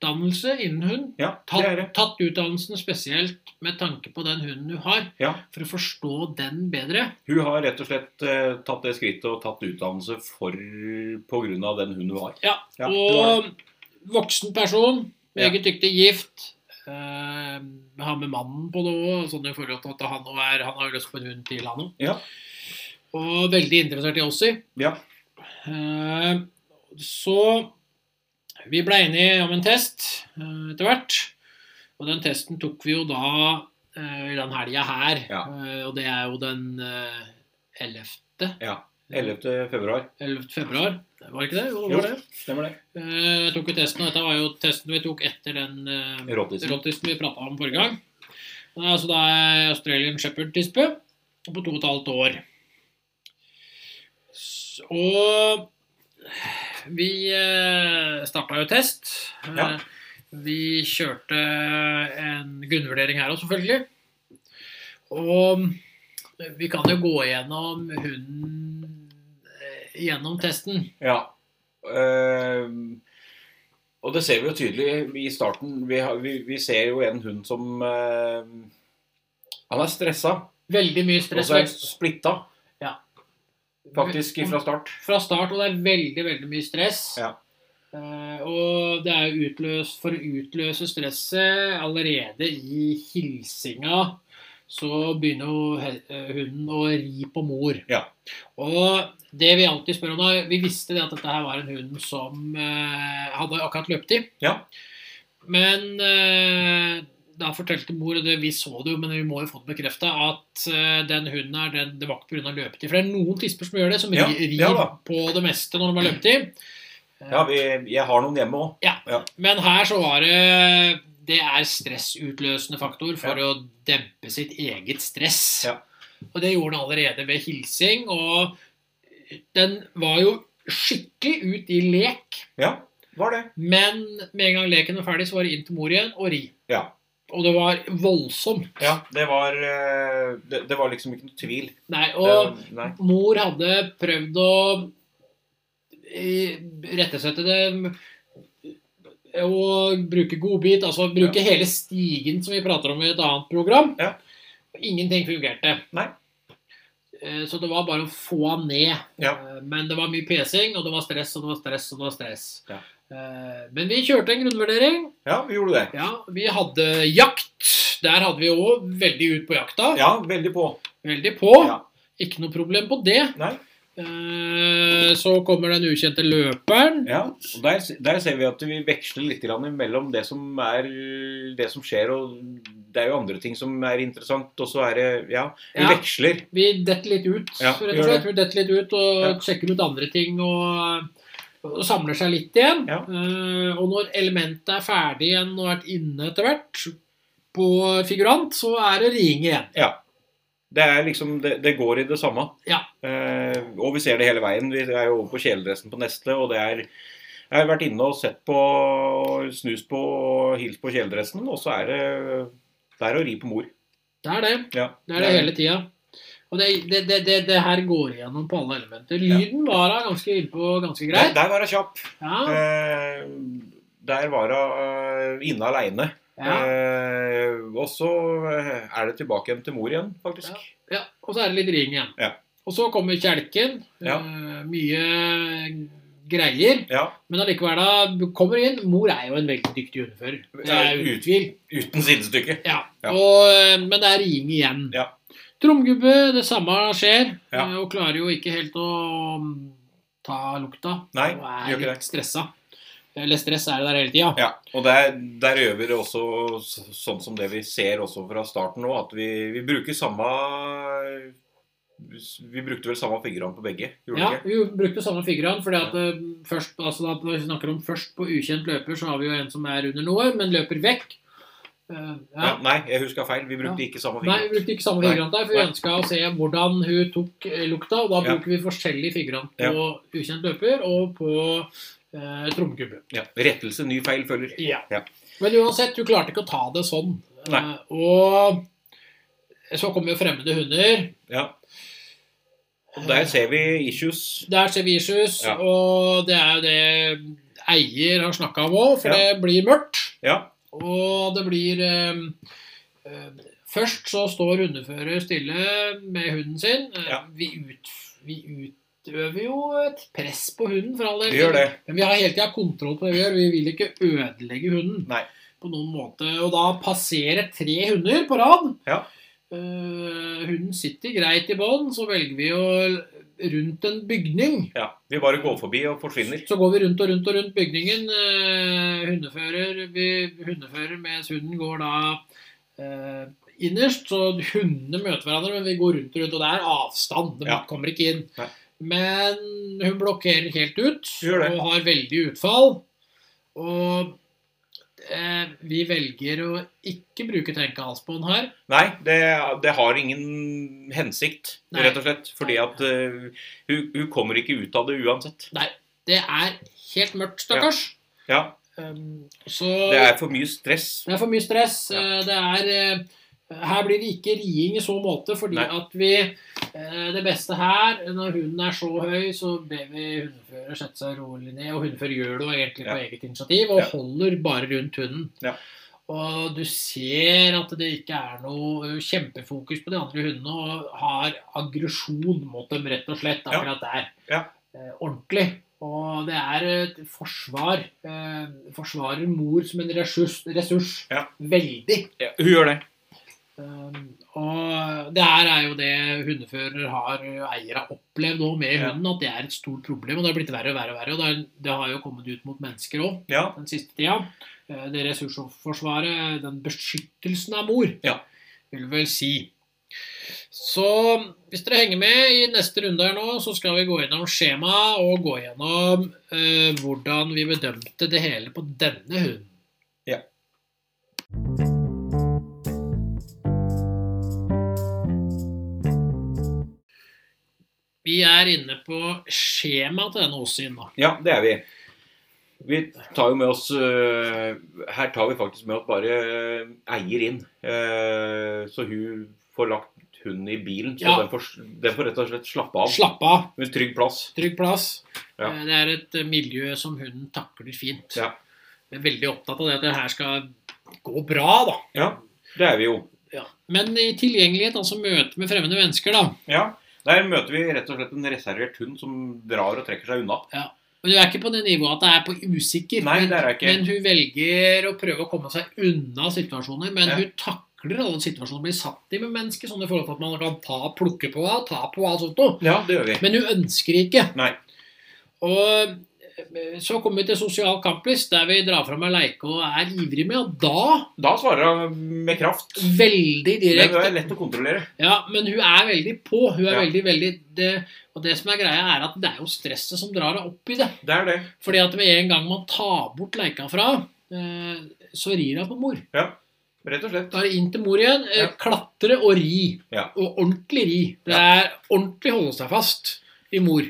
Speaker 2: utdannelse innen hund.
Speaker 1: Ja, det er det.
Speaker 2: Tatt, tatt utdannelsen spesielt med tanke på den hunden du har,
Speaker 1: Ja.
Speaker 2: for å forstå den bedre.
Speaker 1: Hun har rett og slett eh, tatt det skrittet og tatt utdannelse for pga. den hun var.
Speaker 2: Ja,
Speaker 1: Ja, det var
Speaker 2: og voksen person, meget dyktig, gift. Eh, har med mannen på det òg, sånn i forhold til at han, også er, han har jo lyst på en hund til, han òg.
Speaker 1: Ja.
Speaker 2: Og veldig interessert i Ossi.
Speaker 1: Ja.
Speaker 2: Eh, så vi ble enige om en test eh, etter hvert. Og den testen tok vi jo da eh, i den helga her.
Speaker 1: Ja.
Speaker 2: Eh, og det er jo den eh, 11.
Speaker 1: Ja. 11. februar.
Speaker 2: 11. februar. Var det ikke det? Jo, det
Speaker 1: Jo.
Speaker 2: var det.
Speaker 1: Stemmer det.
Speaker 2: Eh, jeg tok jo testen, og dette var jo testen vi tok etter den eh,
Speaker 1: Rottisen.
Speaker 2: rottisten vi prata om forrige gang. Det er altså da en Australian Shepherd-tispe på to og et halvt år. S- Og vi eh, starta jo test. Eh,
Speaker 1: Ja.
Speaker 2: Vi kjørte en grunnvurdering her òg, selvfølgelig. Og vi kan jo gå gjennom hunden eh, gjennom testen.
Speaker 1: Ja. Ehm, og det ser vi jo tydelig i starten. Vi, har, vi, vi ser jo en hund som ehm, Han er stressa,
Speaker 2: Veldig mye
Speaker 1: og
Speaker 2: stress.
Speaker 1: så er han splitta, faktisk,
Speaker 2: Ve-
Speaker 1: fra start.
Speaker 2: fra start, og det er veldig, veldig mye stress.
Speaker 1: Ja.
Speaker 2: Eh, og det er jo utløs, for å utløse stresset allerede i hilsinga, så begynner jo he- eh, hunden å ri på mor.
Speaker 1: Ja.
Speaker 2: Og det vi alltid spør om da, vi visste det at dette her var en hund som eh, hadde akkurat løpetid.
Speaker 1: Ja.
Speaker 2: Men eh, da fortalte mor, og det, vi så det jo, men vi må jo få det bekrefta, at eh, den hunden her, den, det var ikke pga. løpetid. For det er noen tisper som gjør det, som
Speaker 1: Ja,
Speaker 2: ri- rir
Speaker 1: ja da.
Speaker 2: på det meste når de har løpetid. Eh,
Speaker 1: Ja, vi, jeg har noen hjemme òg.
Speaker 2: Men her så var det Det er stressutløsende faktor for å dempe sitt eget stress.
Speaker 1: Ja.
Speaker 2: Og det gjorde den allerede ved hilsing, og den var jo skikkelig ut i lek.
Speaker 1: Ja, var det.
Speaker 2: Men med en gang leken var ferdig, så var det inn til mor igjen og ri.
Speaker 1: Ja.
Speaker 2: Og det var voldsomt.
Speaker 1: Ja, det var, eh, det, det var liksom ikke noe tvil.
Speaker 2: Nei, og
Speaker 1: Det, nei.
Speaker 2: mor hadde prøvd å eh, rettesette det eh, og bruke godbit, altså bruke hele stigen som vi prater om i et annet program.
Speaker 1: Ja.
Speaker 2: Ingenting fungerte.
Speaker 1: Nei.
Speaker 2: Eh, Så det var bare å få han ned.
Speaker 1: Ja.
Speaker 2: Eh, Men det var mye pesing, og det var stress, og det var stress, og det var stress.
Speaker 1: Ja.
Speaker 2: Eh, Men vi kjørte en grunnvurdering.
Speaker 1: Ja, vi gjorde det.
Speaker 2: Ja, vi hadde jakt. Der hadde vi òg veldig ut på jakta.
Speaker 1: Ja, veldig på.
Speaker 2: Veldig på.
Speaker 1: Ja.
Speaker 2: Ikke noe problem på det.
Speaker 1: Nei.
Speaker 2: Eh, Så kommer den ukjente løperen.
Speaker 1: Ja, og der, der ser vi at vi veksler litt grann mellom det som, er, det som skjer, og det er jo andre ting som er interessant, og så er det Ja, vi
Speaker 2: Ja.
Speaker 1: veksler.
Speaker 2: Vi detter litt ut,
Speaker 1: Ja,
Speaker 2: rett og
Speaker 1: gjør
Speaker 2: slett. Vi detter litt ut og
Speaker 1: Ja.
Speaker 2: sjekker ut andre ting og, og samler seg litt igjen.
Speaker 1: Ja.
Speaker 2: Eh, Og når elementet er ferdig igjen og vært inne etter hvert på figurant, så er det riing igjen.
Speaker 1: Det er liksom Det, det går i det samme.
Speaker 2: Ja.
Speaker 1: Eh, og vi ser det hele veien. Vi er jo over på kjeledressen på neste, og det er jeg har vært inne og sett på, snust på og hilst på kjeledressen, og så er det Det er å ri på mor.
Speaker 2: Det er det.
Speaker 1: Ja.
Speaker 2: Det er det hele tida. Og det, det, det, det, det her går igjennom på alle elementer. Lyden var da ganske innpå ganske
Speaker 1: Der,
Speaker 2: greit. Ah.
Speaker 1: der var hun kjapp.
Speaker 2: Ja,
Speaker 1: Eh, der var hun inne aleine.
Speaker 2: ja,
Speaker 1: Eh, og så eh, er det tilbake igjen til mor igjen, faktisk.
Speaker 2: ja. Og så er det litt ring igjen.
Speaker 1: Ja.
Speaker 2: Og så kommer kjelken.
Speaker 1: Ja.
Speaker 2: Eh, mye greier.
Speaker 1: Ja,
Speaker 2: Men allikevel, da kommer inn. Mor er jo en veldig dyktig hundefører. Det
Speaker 1: Ja,
Speaker 2: er uten
Speaker 1: ut-
Speaker 2: tvil.
Speaker 1: Uten sidestykke.
Speaker 2: Ja.
Speaker 1: Ja.
Speaker 2: Og, eh, men det er ring igjen.
Speaker 1: Ja.
Speaker 2: Tromgubbe, det samme skjer.
Speaker 1: Ja.
Speaker 2: eh, Og klarer jo ikke helt å mm, ta lukta.
Speaker 1: Nei,
Speaker 2: og
Speaker 1: gjør
Speaker 2: er
Speaker 1: ikke
Speaker 2: litt stressa. Eller stress er det der hele tida.
Speaker 1: Ja, og der, der gjør vi det også s- sånn som det vi ser også fra starten nå, at vi, vi bruker samme Vi brukte vel samme fingrene på begge, gjorde
Speaker 2: Ja,
Speaker 1: vi ikke?
Speaker 2: vi brukte samme figurene. fordi at eh, først, altså da, Når vi snakker om først på ukjent løper, så har vi jo en som er under noe, men løper vekk. Eh, ja.
Speaker 1: Ja, nei, jeg huska feil. Vi brukte ikke samme
Speaker 2: Nei, vi
Speaker 1: fingre.
Speaker 2: brukte ikke samme
Speaker 1: Nei.
Speaker 2: figurant der, for vi
Speaker 1: Nei.
Speaker 2: ønska å se hvordan hun tok eh, lukta. Og da
Speaker 1: Ja.
Speaker 2: bruker vi forskjellige figurant på ukjent løper og på eh, trommekubbe.
Speaker 1: Ja, rettelse, ny feil følger. Ja.
Speaker 2: Men uansett, hun klarte ikke å ta det sånn. Eh,
Speaker 1: Nei.
Speaker 2: og så kommer jo fremmede hunder.
Speaker 1: Ja. Og der ser vi issues.
Speaker 2: Der ser vi issues,
Speaker 1: Ja.
Speaker 2: og det er jo det eier har snakka om òg, for det blir mørkt.
Speaker 1: Ja.
Speaker 2: Og det blir eh, eh, Først så står hundefører stille med hunden sin. Eh,
Speaker 1: Ja.
Speaker 2: Vi, ut, vi utøver jo et press på hunden, for all del.
Speaker 1: Vi gjør det.
Speaker 2: Men vi har hele tida kontroll på det vi gjør. Vi vil ikke ødelegge hunden
Speaker 1: Nei.
Speaker 2: på noen måte. Og da passerer tre hunder på rad. Ehm,
Speaker 1: Ja.
Speaker 2: Eh, hunden sitter greit i bånd, så velger vi å rundt en bygning.
Speaker 1: Ja, Vi bare går forbi og forsvinner.
Speaker 2: Så går vi rundt og rundt og rundt bygningen. Eh, hundefører, vi hundefører mens hunden går da eh, innerst. Så hundene møter hverandre, men vi går rundt og rundt. Og det er avstand. De
Speaker 1: Ja.
Speaker 2: kommer ikke inn.
Speaker 1: Nei.
Speaker 2: Men hun blokkerer helt ut
Speaker 1: Gjør det.
Speaker 2: og har veldig utfall. Og eh, vi velger å ikke bruke tenkehalsbånd her.
Speaker 1: Nei, det, det har ingen hensikt,
Speaker 2: Nei.
Speaker 1: rett og slett. Fordi at eh, hun, hun kommer ikke ut av det uansett.
Speaker 2: Det er helt mørkt, stakkars.
Speaker 1: Ja,
Speaker 2: Um, så
Speaker 1: Det er for mye stress.
Speaker 2: Det er for mye stress.
Speaker 1: Ja.
Speaker 2: Eh, Det er, eh, her blir det ikke riing i så måte, fordi
Speaker 1: Nei.
Speaker 2: at vi eh, Det beste her, når hunden er så høy, så ber vi hundefører sette seg rolig ned. Og hundefører gjør det jo egentlig på
Speaker 1: Ja.
Speaker 2: eget initiativ, og
Speaker 1: Ja.
Speaker 2: holder bare rundt hunden.
Speaker 1: Ja.
Speaker 2: Og du ser at det ikke er noe kjempefokus på de andre hundene, og har aggresjon mot dem, rett og slett,
Speaker 1: Ja.
Speaker 2: akkurat der.
Speaker 1: Ja.
Speaker 2: Eh, ordentlig. Og det er et forsvar. Eh, forsvarer mor som en ressurs. ressurs.
Speaker 1: Ja.
Speaker 2: Veldig.
Speaker 1: Ja, hun gjør det.
Speaker 2: Eh, og det her er jo det hundefører har eiere har opplevd nå med
Speaker 1: Ja.
Speaker 2: hunden, at det er et stort problem. Og det har blitt verre og verre og verre. Og det, er, det har jo kommet ut mot mennesker òg
Speaker 1: Ja,
Speaker 2: den siste tida. Eh, Det ressursforsvaret, den beskyttelsen av mor,
Speaker 1: Ja.
Speaker 2: vil vel si. Så hvis dere henger med i neste runde her nå, så skal vi gå gjennom skjema og gå gjennom eh, hvordan vi bedømte det hele på denne hunden.
Speaker 1: Ja.
Speaker 2: Vi er inne på skjemaet til denne Åsin, da.
Speaker 1: ja det er vi. Vi tar jo med oss øh, Her tar vi faktisk med oss bare øh, eier inn. Eh, så hun får lagt hunden i bilen, så
Speaker 2: Ja.
Speaker 1: den, får, den får rett og slett slappe av.
Speaker 2: Slapp av.
Speaker 1: Med trygg plass.
Speaker 2: Trygg plass.
Speaker 1: Ja.
Speaker 2: Eh, Det er et eh, miljø som hunden takler fint.
Speaker 1: Ja.
Speaker 2: Jeg er veldig opptatt av det at det her skal gå bra, da.
Speaker 1: Ja, det er vi jo.
Speaker 2: Ja. Men i tilgjengelighet, altså møte med fremmede mennesker, da.
Speaker 1: Ja, Der møter vi rett og slett en reservert hund som drar og trekker seg unna.
Speaker 2: Men Du er ikke på det nivået at det er på usikker.
Speaker 1: Nei,
Speaker 2: men-
Speaker 1: det er jeg ikke.
Speaker 2: Men hun velger å prøve å komme seg unna situasjoner. Men
Speaker 1: Ja.
Speaker 2: hun takler alle situasjoner hun blir satt i med mennesker, sånn i forhold til at man kan ta, plukke på henne, ta på henne og sånt noe.
Speaker 1: Ja, det gjør vi.
Speaker 2: Men hun ønsker ikke.
Speaker 1: Nei.
Speaker 2: Og eh, så kommer vi til sosial kamplist, der vi drar fram ei leike og er ivrig med. Og da,
Speaker 1: Da svarer hun med kraft.
Speaker 2: veldig
Speaker 1: Det er
Speaker 2: direkte
Speaker 1: lett å kontrollere.
Speaker 2: Ja, men hun er veldig på. Hun er
Speaker 1: Ja.
Speaker 2: veldig, veldig det, Og det som er greia, er at det er jo stresset som drar henne opp i det.
Speaker 1: Det er det.
Speaker 2: Fordi at med en gang man tar bort leika fra, eh, så rir hun på mor.
Speaker 1: Rett og slett.
Speaker 2: Da er det inn til mor igjen.
Speaker 1: Ja.
Speaker 2: eh, Klatre og ri.
Speaker 1: Ja.
Speaker 2: Og ordentlig ri. Det er ordentlig holde seg fast i mor.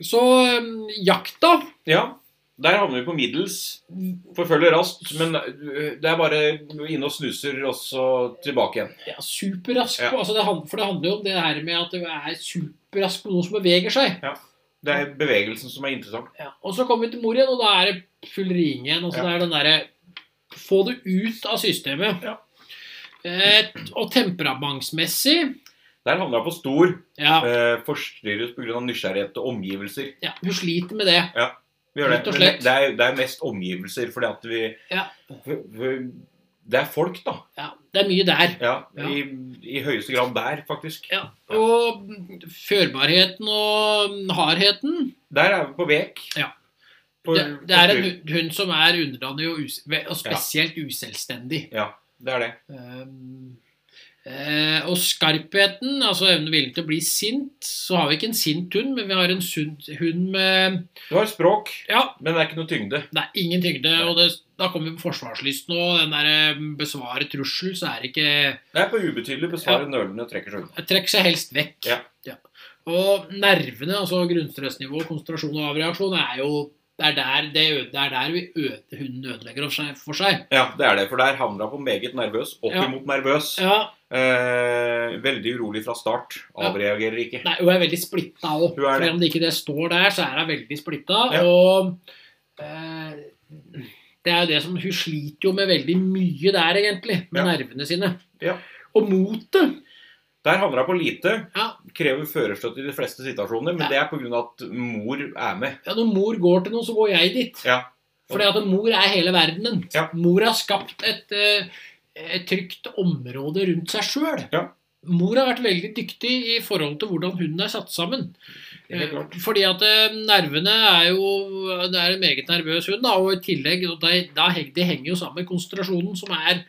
Speaker 2: Så um, jakta
Speaker 1: Ja. Der havner vi på middels. Forfølger raskt, men øh, det er bare inne og snuser, og så tilbake igjen.
Speaker 2: ja, superrask.
Speaker 1: Ja.
Speaker 2: på- Altså det, hand- for det handler jo om det her med at du er superrask på noe som beveger seg.
Speaker 1: Det er bevegelsen som er interessant.
Speaker 2: Ja. Og så kommer vi til mor igjen, og da er det full riing igjen. Og så
Speaker 1: Ja.
Speaker 2: det er den derre Få det ut av systemet.
Speaker 1: Ja.
Speaker 2: Eh, og temperamentsmessig
Speaker 1: Der havner jeg på stor.
Speaker 2: ja,
Speaker 1: Eh, forstyrres pga. nysgjerrighet og omgivelser.
Speaker 2: ja, hun sliter med det.
Speaker 1: Vi gjør det.
Speaker 2: Rett og
Speaker 1: Men
Speaker 2: slett.
Speaker 1: Det, er, det er mest omgivelser, fordi at vi
Speaker 2: Ja.
Speaker 1: for- for- Det er folk, da.
Speaker 2: Ja, det er mye der.
Speaker 1: Ja,
Speaker 2: Ja.
Speaker 1: I, I høyeste grad der, faktisk.
Speaker 2: Ja. Og førbarheten og hardheten.
Speaker 1: Der er vi på vek.
Speaker 2: Ja.
Speaker 1: På-
Speaker 2: det, det er en
Speaker 1: på-
Speaker 2: hu- hund som er underdanig og, us og spesielt uselvstendig.
Speaker 1: Ja, det er det.
Speaker 2: Um, eh, og skarpheten, altså evnen og viljen til å bli sint. Så har vi ikke en sint hund, men vi har en sunn hund med
Speaker 1: Du har språk,
Speaker 2: Ja,
Speaker 1: men det er ikke noe tyngde.
Speaker 2: det er ingen tyngde. Og det, da kommer vi på forsvarslysten og den der um, besvare trussel, så er det ikke
Speaker 1: Det er på ubetydelig besvarer nølende og trekker seg unna.
Speaker 2: Trekk seg helst vekk.
Speaker 1: Ja.
Speaker 2: Og nervene, altså grunnstressnivå, konsentrasjon og avreaksjon, er jo det er der, det, ø- det er der vi øde, hunden ødelegger for seg, for seg.
Speaker 1: Ja, det er det, for der havner jeg på meget nervøs. Opp
Speaker 2: Ja.
Speaker 1: imot nervøs.
Speaker 2: Ja,
Speaker 1: Eh, veldig urolig fra start.
Speaker 2: Ja.
Speaker 1: Avreagerer ikke.
Speaker 2: Nei, hun er veldig splitta òg.
Speaker 1: Hun er det.
Speaker 2: Selv om det ikke det står der, så er hun veldig splitta.
Speaker 1: Ja.
Speaker 2: Og eh, det er jo det som Hun sliter jo med veldig mye der, egentlig. Med
Speaker 1: Ja.
Speaker 2: nervene sine.
Speaker 1: Ja.
Speaker 2: Og motet.
Speaker 1: Der havner jeg på lite.
Speaker 2: Ja.
Speaker 1: Krever førerstøtte i de fleste situasjoner, men
Speaker 2: Ja.
Speaker 1: det er pga. at mor er med.
Speaker 2: Ja, når mor går til noe, så går jeg dit.
Speaker 1: Ja.
Speaker 2: Fordi at mor er hele verdenen.
Speaker 1: Ja.
Speaker 2: Mor har skapt et, eh, et trygt område rundt seg sjøl.
Speaker 1: Ja.
Speaker 2: Mor har vært veldig dyktig i forhold til hvordan hunden er satt sammen.
Speaker 1: Det er helt klart.
Speaker 2: Eh, Fordi at eh, nervene er jo Det er en meget nervøs hund, da, og i tillegg og de, da, heng- Det henger jo sammen med konsentrasjonen, som er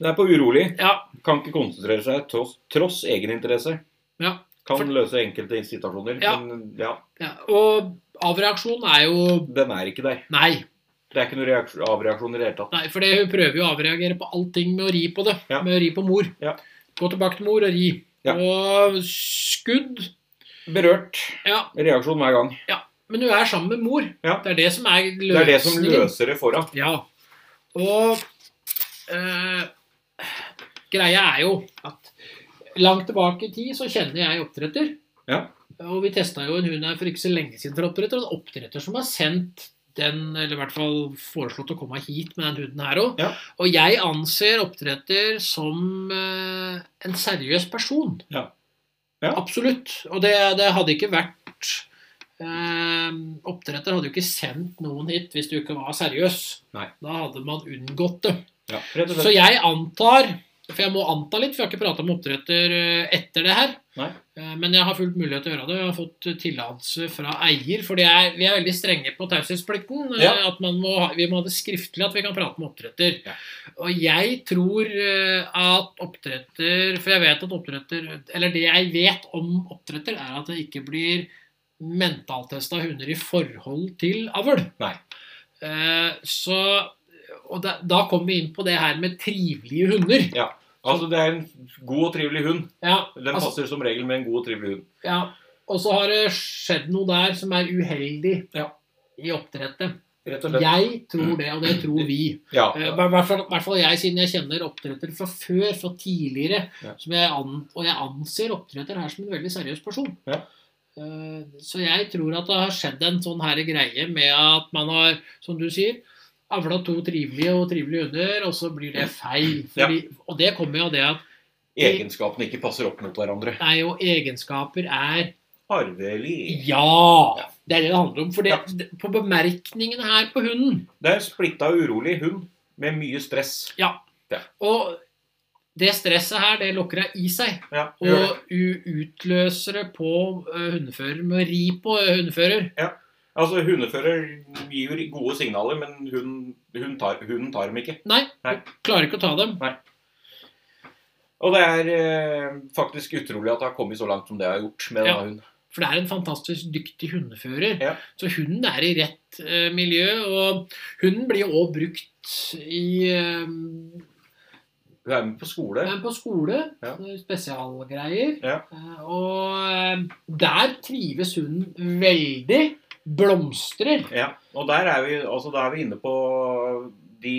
Speaker 1: Det er på urolig.
Speaker 2: Ja.
Speaker 1: Kan ikke konsentrere seg tross, tross egeninteresse.
Speaker 2: ja,
Speaker 1: Kan
Speaker 2: For-
Speaker 1: løse enkelte situasjoner,
Speaker 2: Ja.
Speaker 1: men ja,
Speaker 2: ja. Og avreaksjonen er jo
Speaker 1: den er ikke der.
Speaker 2: Nei.
Speaker 1: Det er ikke noen reaksjon, avreaksjon i det hele tatt.
Speaker 2: Nei, for det, hun prøver jo å avreagere på allting med å ri på det.
Speaker 1: Ja.
Speaker 2: Med å ri på mor.
Speaker 1: Ja.
Speaker 2: Gå tilbake til mor og ri.
Speaker 1: Ja.
Speaker 2: Og skudd
Speaker 1: Berørt.
Speaker 2: Ja,
Speaker 1: Reaksjon hver gang.
Speaker 2: men hun er sammen med mor.
Speaker 1: Ja.
Speaker 2: Det er det som er løsningen.
Speaker 1: Det er det som løser det for henne.
Speaker 2: Ja. Og eh, greia er jo at langt tilbake i tid så kjenner jeg oppdretter.
Speaker 1: Ja.
Speaker 2: Og vi testa jo en hund her for ikke så lenge siden for oppdretter. Og en oppdretter som har sendt den, eller i hvert fall foreslått å komme hit med den hunden her òg.
Speaker 1: Ja.
Speaker 2: Og jeg anser oppdretter som eh, en seriøs person.
Speaker 1: Ja. Ja.
Speaker 2: Absolutt. Og det, det hadde ikke vært eh, Oppdretter hadde jo ikke sendt noen hit hvis du ikke var seriøs.
Speaker 1: Nei.
Speaker 2: Da hadde man unngått det.
Speaker 1: Ja, rett og
Speaker 2: Så
Speaker 1: slett.
Speaker 2: jeg antar For jeg må anta litt, for jeg har ikke prata med oppdretter eh, etter det her.
Speaker 1: Nei.
Speaker 2: Eh, Men jeg har fullt mulighet til å gjøre det. Jeg har fått eh, tillatelse fra eier. For det er- vi er veldig strenge på taushetsplikten. eh,
Speaker 1: Ja.
Speaker 2: At man må, ha- vi må ha det skriftlig at vi kan prate med oppdretter.
Speaker 1: Ja.
Speaker 2: Og jeg tror eh, at oppdretter For jeg vet at oppdretter Eller det jeg vet om oppdretter, er at det ikke blir mentaltesta hunder i forhold til avl.
Speaker 1: Nei.
Speaker 2: Eh, Så og da, da kommer vi inn på det her med trivelige hunder.
Speaker 1: Altså, det er en god og trivelig hund.
Speaker 2: Ja,
Speaker 1: Den
Speaker 2: altså,
Speaker 1: passer som regel med en god og trivelig hund.
Speaker 2: ja. Og så har det skjedd noe der som er uheldig
Speaker 1: Ja.
Speaker 2: i oppdrettet.
Speaker 1: Rett og slett.
Speaker 2: Jeg tror det, og det tror vi.
Speaker 1: Ja.
Speaker 2: Eh, I hvert fall, hvert fall jeg, siden jeg kjenner oppdretter fra før, fra tidligere.
Speaker 1: Ja.
Speaker 2: Som jeg an, og jeg anser oppdretter her som en veldig seriøs person.
Speaker 1: Ja.
Speaker 2: Eh, Så jeg tror at det har skjedd en sånn her greie med at man har, som du sier, avla to trivelige og trivelige hunder, og så blir det feil.
Speaker 1: Ja.
Speaker 2: Fordi, Og det kommer jo av det at
Speaker 1: Egenskapene ikke passer opp mot hverandre.
Speaker 2: Nei, og egenskaper er
Speaker 1: Arvelig.
Speaker 2: Ja! Det er det det handler om. For det,
Speaker 1: Ja.
Speaker 2: det- på bemerkningene her på hunden
Speaker 1: Det er en splitta og urolig hund med mye stress.
Speaker 2: Og det stresset her, det lukker deg i seg.
Speaker 1: Ja, det gjør det.
Speaker 2: Og u- utløser det på eh, hundefører med å ri på eh, hundefører.
Speaker 1: Altså, hundefører gir jo gode signaler, men hun, hun tar, hunden tar dem ikke.
Speaker 2: Nei,
Speaker 1: Nei.
Speaker 2: klarer ikke å ta dem.
Speaker 1: Og det er eh, faktisk utrolig at det har kommet så langt som det har gjort med
Speaker 2: Ja.
Speaker 1: denne hunden.
Speaker 2: For det er en fantastisk dyktig hundefører.
Speaker 1: Ja.
Speaker 2: Så hunden er i rett eh, miljø. Og hunden blir jo òg brukt i eh,
Speaker 1: Hun er med på skole.
Speaker 2: Men Eh, på skole, eh,
Speaker 1: Ja.
Speaker 2: spesialgreier.
Speaker 1: Ja.
Speaker 2: Eh, Og eh, der trives hunden veldig. Blomstrer.
Speaker 1: Ja, og der er vi, altså, da er vi inne på de,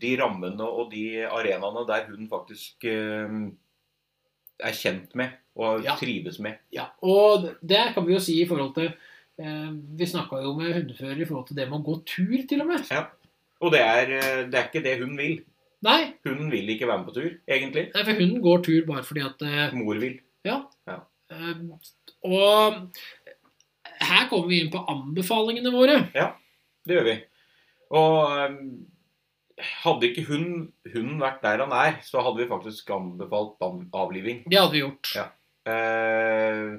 Speaker 1: de rammene og de arenaene der hun faktisk eh, er kjent med og
Speaker 2: Ja.
Speaker 1: trives med.
Speaker 2: Ja. Og det kan vi jo si i forhold til eh, Vi snakka jo med hundefører i forhold til det med å gå tur, til og med.
Speaker 1: Og det er, eh, det er ikke det hun vil.
Speaker 2: Nei,
Speaker 1: Hun vil ikke være med på tur, egentlig.
Speaker 2: nei, for hunden går tur bare fordi at eh,
Speaker 1: Mor vil.
Speaker 2: eh, Og her kommer vi inn på anbefalingene våre.
Speaker 1: Det gjør vi. Og eh, hadde ikke hun, hunden vært der han er, så hadde vi faktisk anbefalt ban- avliving.
Speaker 2: Det hadde vi gjort.
Speaker 1: Ja. Eh,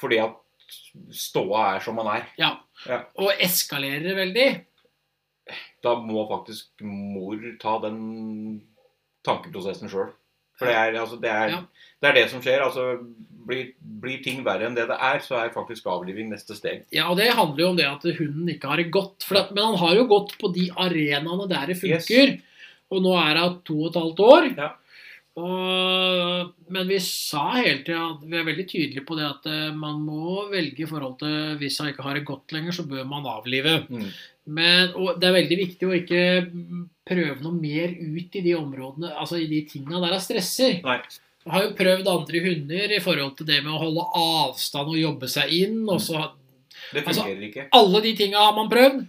Speaker 1: fordi at ståa er som han er.
Speaker 2: Ja.
Speaker 1: Ja.
Speaker 2: Og eskalerer det veldig.
Speaker 1: da må faktisk mor ta den tankeprosessen sjøl. For det er, altså, det, er,
Speaker 2: Ja.
Speaker 1: det er det som skjer. Altså, blir, blir ting verre enn det det er, så er faktisk avliving neste steg.
Speaker 2: Ja, og det handler jo om det at hunden ikke har det godt. For at, men han har jo gått på de arenaene der det funker. Og nå er hun to og et halvt år.
Speaker 1: Ja.
Speaker 2: Og, men vi sa hele tida at vi er veldig tydelige på det at eh, man må velge i forhold til Hvis hun ikke har det godt lenger, så bør man avlive. Men, og det er veldig viktig å ikke prøve noe mer ut i de områdene, altså i de tinga der hun stresser.
Speaker 1: Nei.
Speaker 2: Jeg har jo prøvd andre hunder i forhold til det med å holde avstand og jobbe seg inn. Og så
Speaker 1: Det fungerer
Speaker 2: Altså-
Speaker 1: ikke.
Speaker 2: alle de tinga har man prøvd.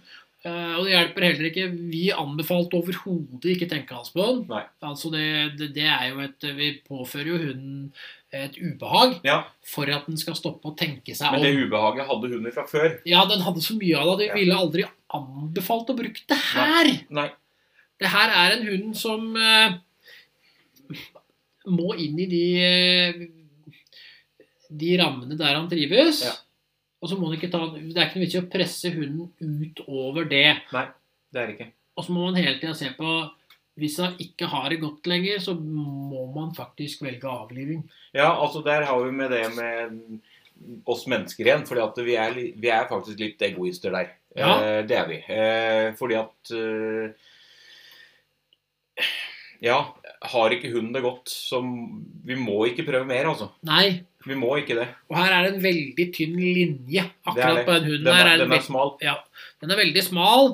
Speaker 2: eh, Og det hjelper heller ikke. Vi anbefalte overhodet ikke tenkehals på den.
Speaker 1: Nei.
Speaker 2: Altså det, det, det er jo et Vi påfører jo hunden et ubehag
Speaker 1: Ja,
Speaker 2: for at den skal stoppe å tenke seg
Speaker 1: Men
Speaker 2: om.
Speaker 1: det ubehaget hadde hunder fra før.
Speaker 2: Ja, den hadde så mye av det at vi
Speaker 1: Ja.
Speaker 2: ville aldri anbefalt å bruke det her.
Speaker 1: Nei.
Speaker 2: Det her er en hund som eh, må inn i de, eh, de rammene der han trives.
Speaker 1: Ja.
Speaker 2: Og så må han ikke ta Det er ikke noe vits i å presse hunden utover det.
Speaker 1: Det er det ikke.
Speaker 2: Og så må man hele tida se på Hvis han ikke har det godt lenger, så må man faktisk velge avliving.
Speaker 1: Ja, altså der har vi med det med oss mennesker igjen, fordi at vi er, li- vi er faktisk litt egoister der.
Speaker 2: Ja.
Speaker 1: Eh, det er vi. Eh, fordi at eh, Ja, har ikke hunden det godt, så vi må ikke prøve mer, altså.
Speaker 2: Nei.
Speaker 1: Vi må ikke det.
Speaker 2: Og her er det en veldig tynn linje akkurat
Speaker 1: det.
Speaker 2: på den hunden.
Speaker 1: Den
Speaker 2: her
Speaker 1: er,
Speaker 2: er det
Speaker 1: den er smal.
Speaker 2: Ja, den er veldig smal,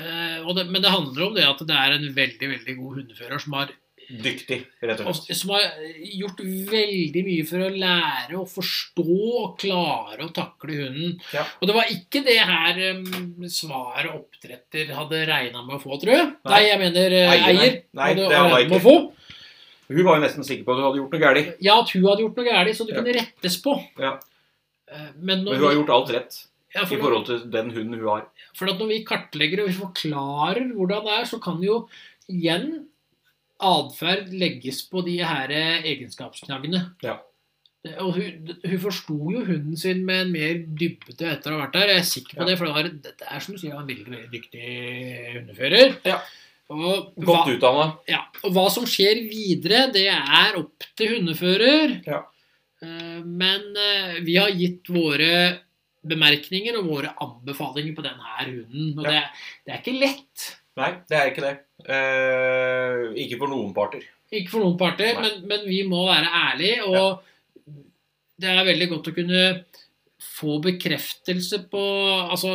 Speaker 2: eh, og det, men det handler om det at det er en veldig veldig god hundefører som har,
Speaker 1: Dyktig, rett og slett.
Speaker 2: som har gjort veldig mye for å lære å forstå og klare å takle hunden.
Speaker 1: Ja.
Speaker 2: Og det var ikke det her eh, svaret oppdretter hadde regna med å få, tror jeg. Nei,
Speaker 1: Nei.
Speaker 2: jeg mener eh,
Speaker 1: Eier,
Speaker 2: eier.
Speaker 1: nei. Nei,
Speaker 2: hadde
Speaker 1: det hadde
Speaker 2: regnet med
Speaker 1: jeg
Speaker 2: å få.
Speaker 1: Hun var jo nesten sikker på at hun hadde gjort noe galt.
Speaker 2: Ja, at hun hadde gjort noe galt, så det
Speaker 1: Ja.
Speaker 2: kunne rettes på.
Speaker 1: Ja.
Speaker 2: Eh, Men, når
Speaker 1: Men hun har
Speaker 2: vi-
Speaker 1: gjort alt rett
Speaker 2: ja,
Speaker 1: i
Speaker 2: for
Speaker 1: forhold til den hunden hun har.
Speaker 2: For at når vi kartlegger og vi forklarer hvordan det er, så kan jo igjen atferd legges på de her egenskapsknaggene.
Speaker 1: Ja.
Speaker 2: Det- Og hun, hun forsto jo hunden sin med en mer dybde etter å ha vært der. Jeg er sikker på
Speaker 1: Ja.
Speaker 2: det, for det, var, dette er som du sier, han er en veldig, veldig dyktig hundefører.
Speaker 1: Ja.
Speaker 2: Og hva,
Speaker 1: Godt utdanna.
Speaker 2: ja, og hva som skjer videre, det er opp til hundefører.
Speaker 1: Ja.
Speaker 2: Eh, Men eh, vi har gitt våre bemerkninger og våre anbefalinger på denne hunden. Og
Speaker 1: Ja.
Speaker 2: det, det er ikke lett.
Speaker 1: Nei, det er ikke det. Eh, ikke for noen parter.
Speaker 2: Ikke for noen parter,
Speaker 1: Nei.
Speaker 2: men, men vi må være ærlige. Og det er veldig godt å kunne få bekreftelse på Altså,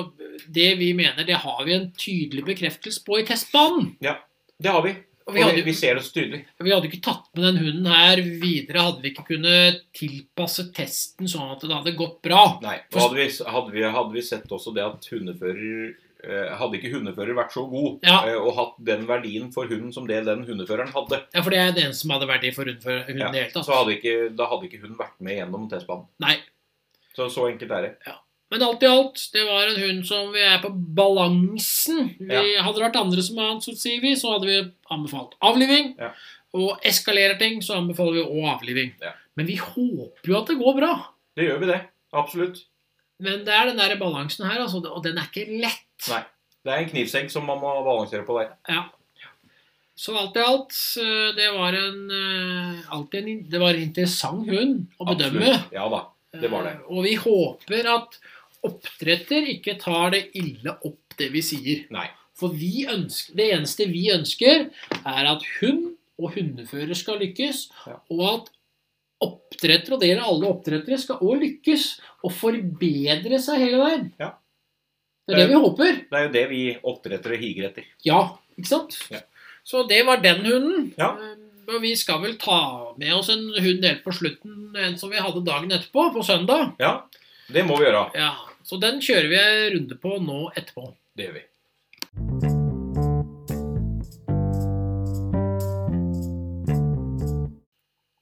Speaker 2: det vi mener, det har vi en tydelig bekreftelse på i testbanen.
Speaker 1: Det har vi.
Speaker 2: Og
Speaker 1: Vi,
Speaker 2: vi hadde-
Speaker 1: vi ser det så tydelig.
Speaker 2: Vi hadde ikke tatt med den hunden her videre, hadde vi ikke kunnet tilpasse testen sånn at det hadde gått bra.
Speaker 1: Nei, og
Speaker 2: For-
Speaker 1: hadde, vi, hadde, vi, hadde vi sett også det at hundefører eh, Hadde ikke hundefører vært så god
Speaker 2: Ja.
Speaker 1: eh, og hatt den verdien for hunden som det den hundeføreren hadde,
Speaker 2: Ja, for det er det eneste som hadde verdi for hunden, for hunden
Speaker 1: Ja,
Speaker 2: i det hele tatt.
Speaker 1: så hadde ikke, da hadde ikke hun vært med gjennom testbanen.
Speaker 2: Nei.
Speaker 1: Så, så enkelt er det.
Speaker 2: Men alt i alt, det var en hund som vi er på balansen. Vi Hadde det vært andre som annet, så sier vi, så hadde vi anbefalt avliving.
Speaker 1: Ja.
Speaker 2: Og eskalerer ting, så anbefaler vi òg avliving.
Speaker 1: Ja.
Speaker 2: Men vi håper jo at det går bra.
Speaker 1: Det gjør vi det. Absolutt.
Speaker 2: Men det er den der balansen her, altså, og den er ikke lett.
Speaker 1: Det er en knivsegg som man må balansere på der.
Speaker 2: Ja. Så alt i alt, eh, det var en, eh, alltid en, in- det var en interessant hund å bedømme.
Speaker 1: Absolutt. Ja da. det var det.
Speaker 2: Eh, Og vi håper at oppdretter ikke tar det ille opp, det vi sier.
Speaker 1: Nei.
Speaker 2: For vi ønsker, det eneste vi ønsker, er at hund og hundefører skal lykkes,
Speaker 1: Ja.
Speaker 2: og at oppdrettere, og det gjelder alle oppdrettere, skal også lykkes og forbedre seg hele veien.
Speaker 1: Ja. Eh,
Speaker 2: Det er det vi håper.
Speaker 1: Det er jo det vi oppdrettere higer etter.
Speaker 2: Ja, ikke sant?
Speaker 1: Ja.
Speaker 2: Så det var den hunden.
Speaker 1: Ja.
Speaker 2: Eh, Og vi skal vel ta med oss en hund helt på slutten, en som vi hadde dagen etterpå, på søndag.
Speaker 1: Ja, det må vi gjøre.
Speaker 2: Ja, Så den kjører vi en runde på nå etterpå.
Speaker 1: Det gjør vi.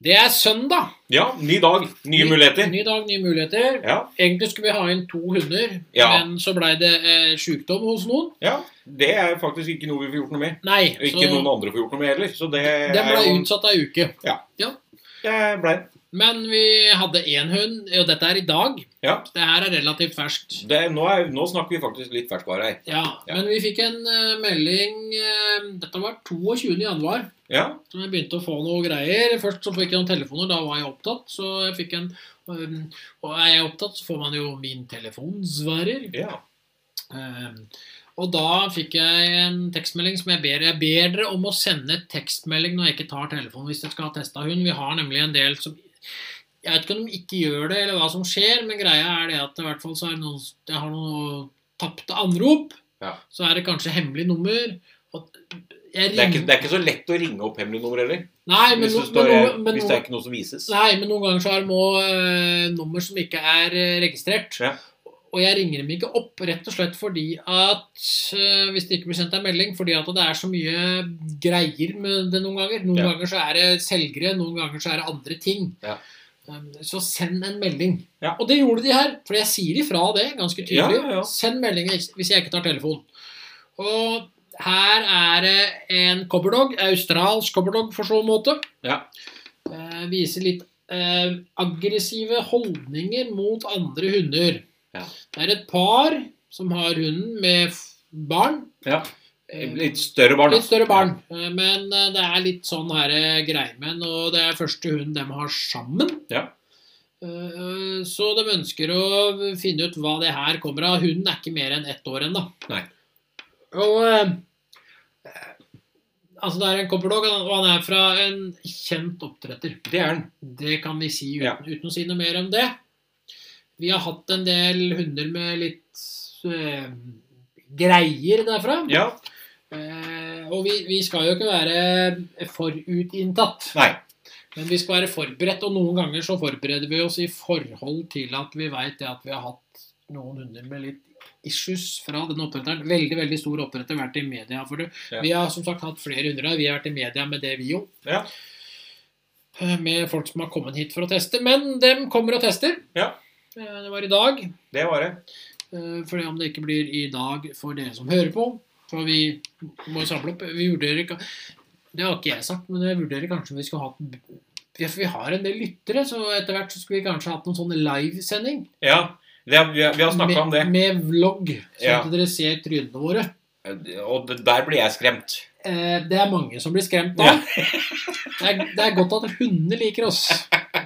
Speaker 2: Det er søndag.
Speaker 1: Ja, ny dag, nye muligheter.
Speaker 2: Ny dag, nye muligheter.
Speaker 1: Ja,
Speaker 2: Egentlig skulle vi ha inn to hunder,
Speaker 1: Ja.
Speaker 2: men så blei det eh, sjukdom hos noen.
Speaker 1: ja. Det er faktisk ikke noe vi får gjort noe med.
Speaker 2: Nei,
Speaker 1: Og Ikke noen andre får gjort noe med heller. Så det
Speaker 2: den
Speaker 1: er
Speaker 2: blei
Speaker 1: jo
Speaker 2: utsatt ei uke.
Speaker 1: Jeg ble.
Speaker 2: Men vi hadde én hund, og dette er i dag.
Speaker 1: Ja.
Speaker 2: Det her er relativt ferskt.
Speaker 1: Det, nå, er, nå snakker vi faktisk litt ferskvare her.
Speaker 2: Ja,
Speaker 1: Ja.
Speaker 2: men vi fikk en eh, melding eh, Dette var 22. januar.
Speaker 1: Ja,
Speaker 2: Så jeg begynte å få noe greier. Først så fikk jeg noen telefoner, da var jeg opptatt. Så jeg fikk en ehm, Og er jeg opptatt, så får man jo min telefonsvarer.
Speaker 1: ja.
Speaker 2: Ehm, og da fikk jeg en tekstmelding som jeg ber Jeg ber dere om å sende tekstmelding når jeg ikke tar telefonen hvis jeg skal ha testa hund. Vi har nemlig en del som Jeg vet ikke om de ikke gjør det, eller hva som skjer, men greia er det at i hvert fall så er det noen Jeg har noen tapte anrop.
Speaker 1: Ja.
Speaker 2: Så er det kanskje hemmelig nummer. Og
Speaker 1: Det,
Speaker 2: jeg
Speaker 1: er ikke,
Speaker 2: ringer-
Speaker 1: det er ikke så lett å ringe opp hemmelig nummer heller.
Speaker 2: Nei, men,
Speaker 1: Hvis, det
Speaker 2: no-
Speaker 1: står,
Speaker 2: men, noen- men,
Speaker 1: hvis
Speaker 2: noen-
Speaker 1: det er ikke noe som vises.
Speaker 2: Nei, men noen ganger så er det må, eh, nummer som ikke er eh, registrert.
Speaker 1: Ja.
Speaker 2: Og jeg ringer dem ikke opp, rett og slett fordi at eh, Hvis det ikke blir sendt en melding, fordi at det er så mye greier med det noen ganger. Noen
Speaker 1: Ja.
Speaker 2: ganger så er det selgere, noen ganger så er det andre ting.
Speaker 1: Ja.
Speaker 2: Um, Så send en melding.
Speaker 1: Ja.
Speaker 2: Og det gjorde de her, for jeg sier ifra det ganske
Speaker 1: Ja,
Speaker 2: tydelig.
Speaker 1: ja, ja.
Speaker 2: Send melding hvis jeg ikke tar telefonen. Og her er det en cobberdog, australsk cobberdog for så måte.
Speaker 1: Ja.
Speaker 2: eh, viser litt eh, aggressive holdninger mot andre hunder.
Speaker 1: Ja.
Speaker 2: Det er et par som har hunden med f- barn.
Speaker 1: Ja.
Speaker 2: Eh,
Speaker 1: Litt større barn. da.
Speaker 2: Litt større barn. Eh, Men eh, det er litt sånn her eh, greier med den, og det er første hunden de har sammen.
Speaker 1: Ja.
Speaker 2: Eh, Så de ønsker å finne ut hva det her kommer av. Hunden er ikke mer enn ett år ennå.
Speaker 1: Nei.
Speaker 2: Og eh, eh, Altså, det er en kopperdog, og han er fra en kjent oppdretter.
Speaker 1: Det er den.
Speaker 2: Det kan vi si uten,
Speaker 1: Ja.
Speaker 2: uten å si noe mer om det. Vi har hatt en del hunder med litt eh, greier derfra.
Speaker 1: Ja.
Speaker 2: Eh, og vi, vi skal jo ikke være forutinntatt,
Speaker 1: Nei.
Speaker 2: men vi skal være forberedt. Og noen ganger så forbereder vi oss i forhold til at vi veit at vi har hatt noen hunder med litt issues fra denne oppdretteren. Veldig veldig stor oppdretter, vært i media for det.
Speaker 1: Ja.
Speaker 2: Vi har som sagt hatt flere hunder her. Vi har vært i media med det, vi òg.
Speaker 1: Ja.
Speaker 2: Med folk som har kommet hit for å teste. Men dem kommer og tester.
Speaker 1: Ja.
Speaker 2: Eh, Det var i dag.
Speaker 1: Det var det.
Speaker 2: Eh, Fordi om det ikke blir i dag for dere som hører på For vi må samle opp Vi vurderer ikke Det har ikke jeg sagt, men jeg vurderer kanskje om vi skulle hatt ja, for Vi har en del lyttere, så etter hvert så skulle vi kanskje hatt noen sånne livesending.
Speaker 1: Ja. Det, vi har, vi har snakka om det.
Speaker 2: Med, med vlogg, sånn
Speaker 1: Ja.
Speaker 2: at dere ser trynene våre.
Speaker 1: Og det, der ble jeg skremt.
Speaker 2: Eh, det er mange som blir skremt da. det, er, det er godt at hundene liker oss.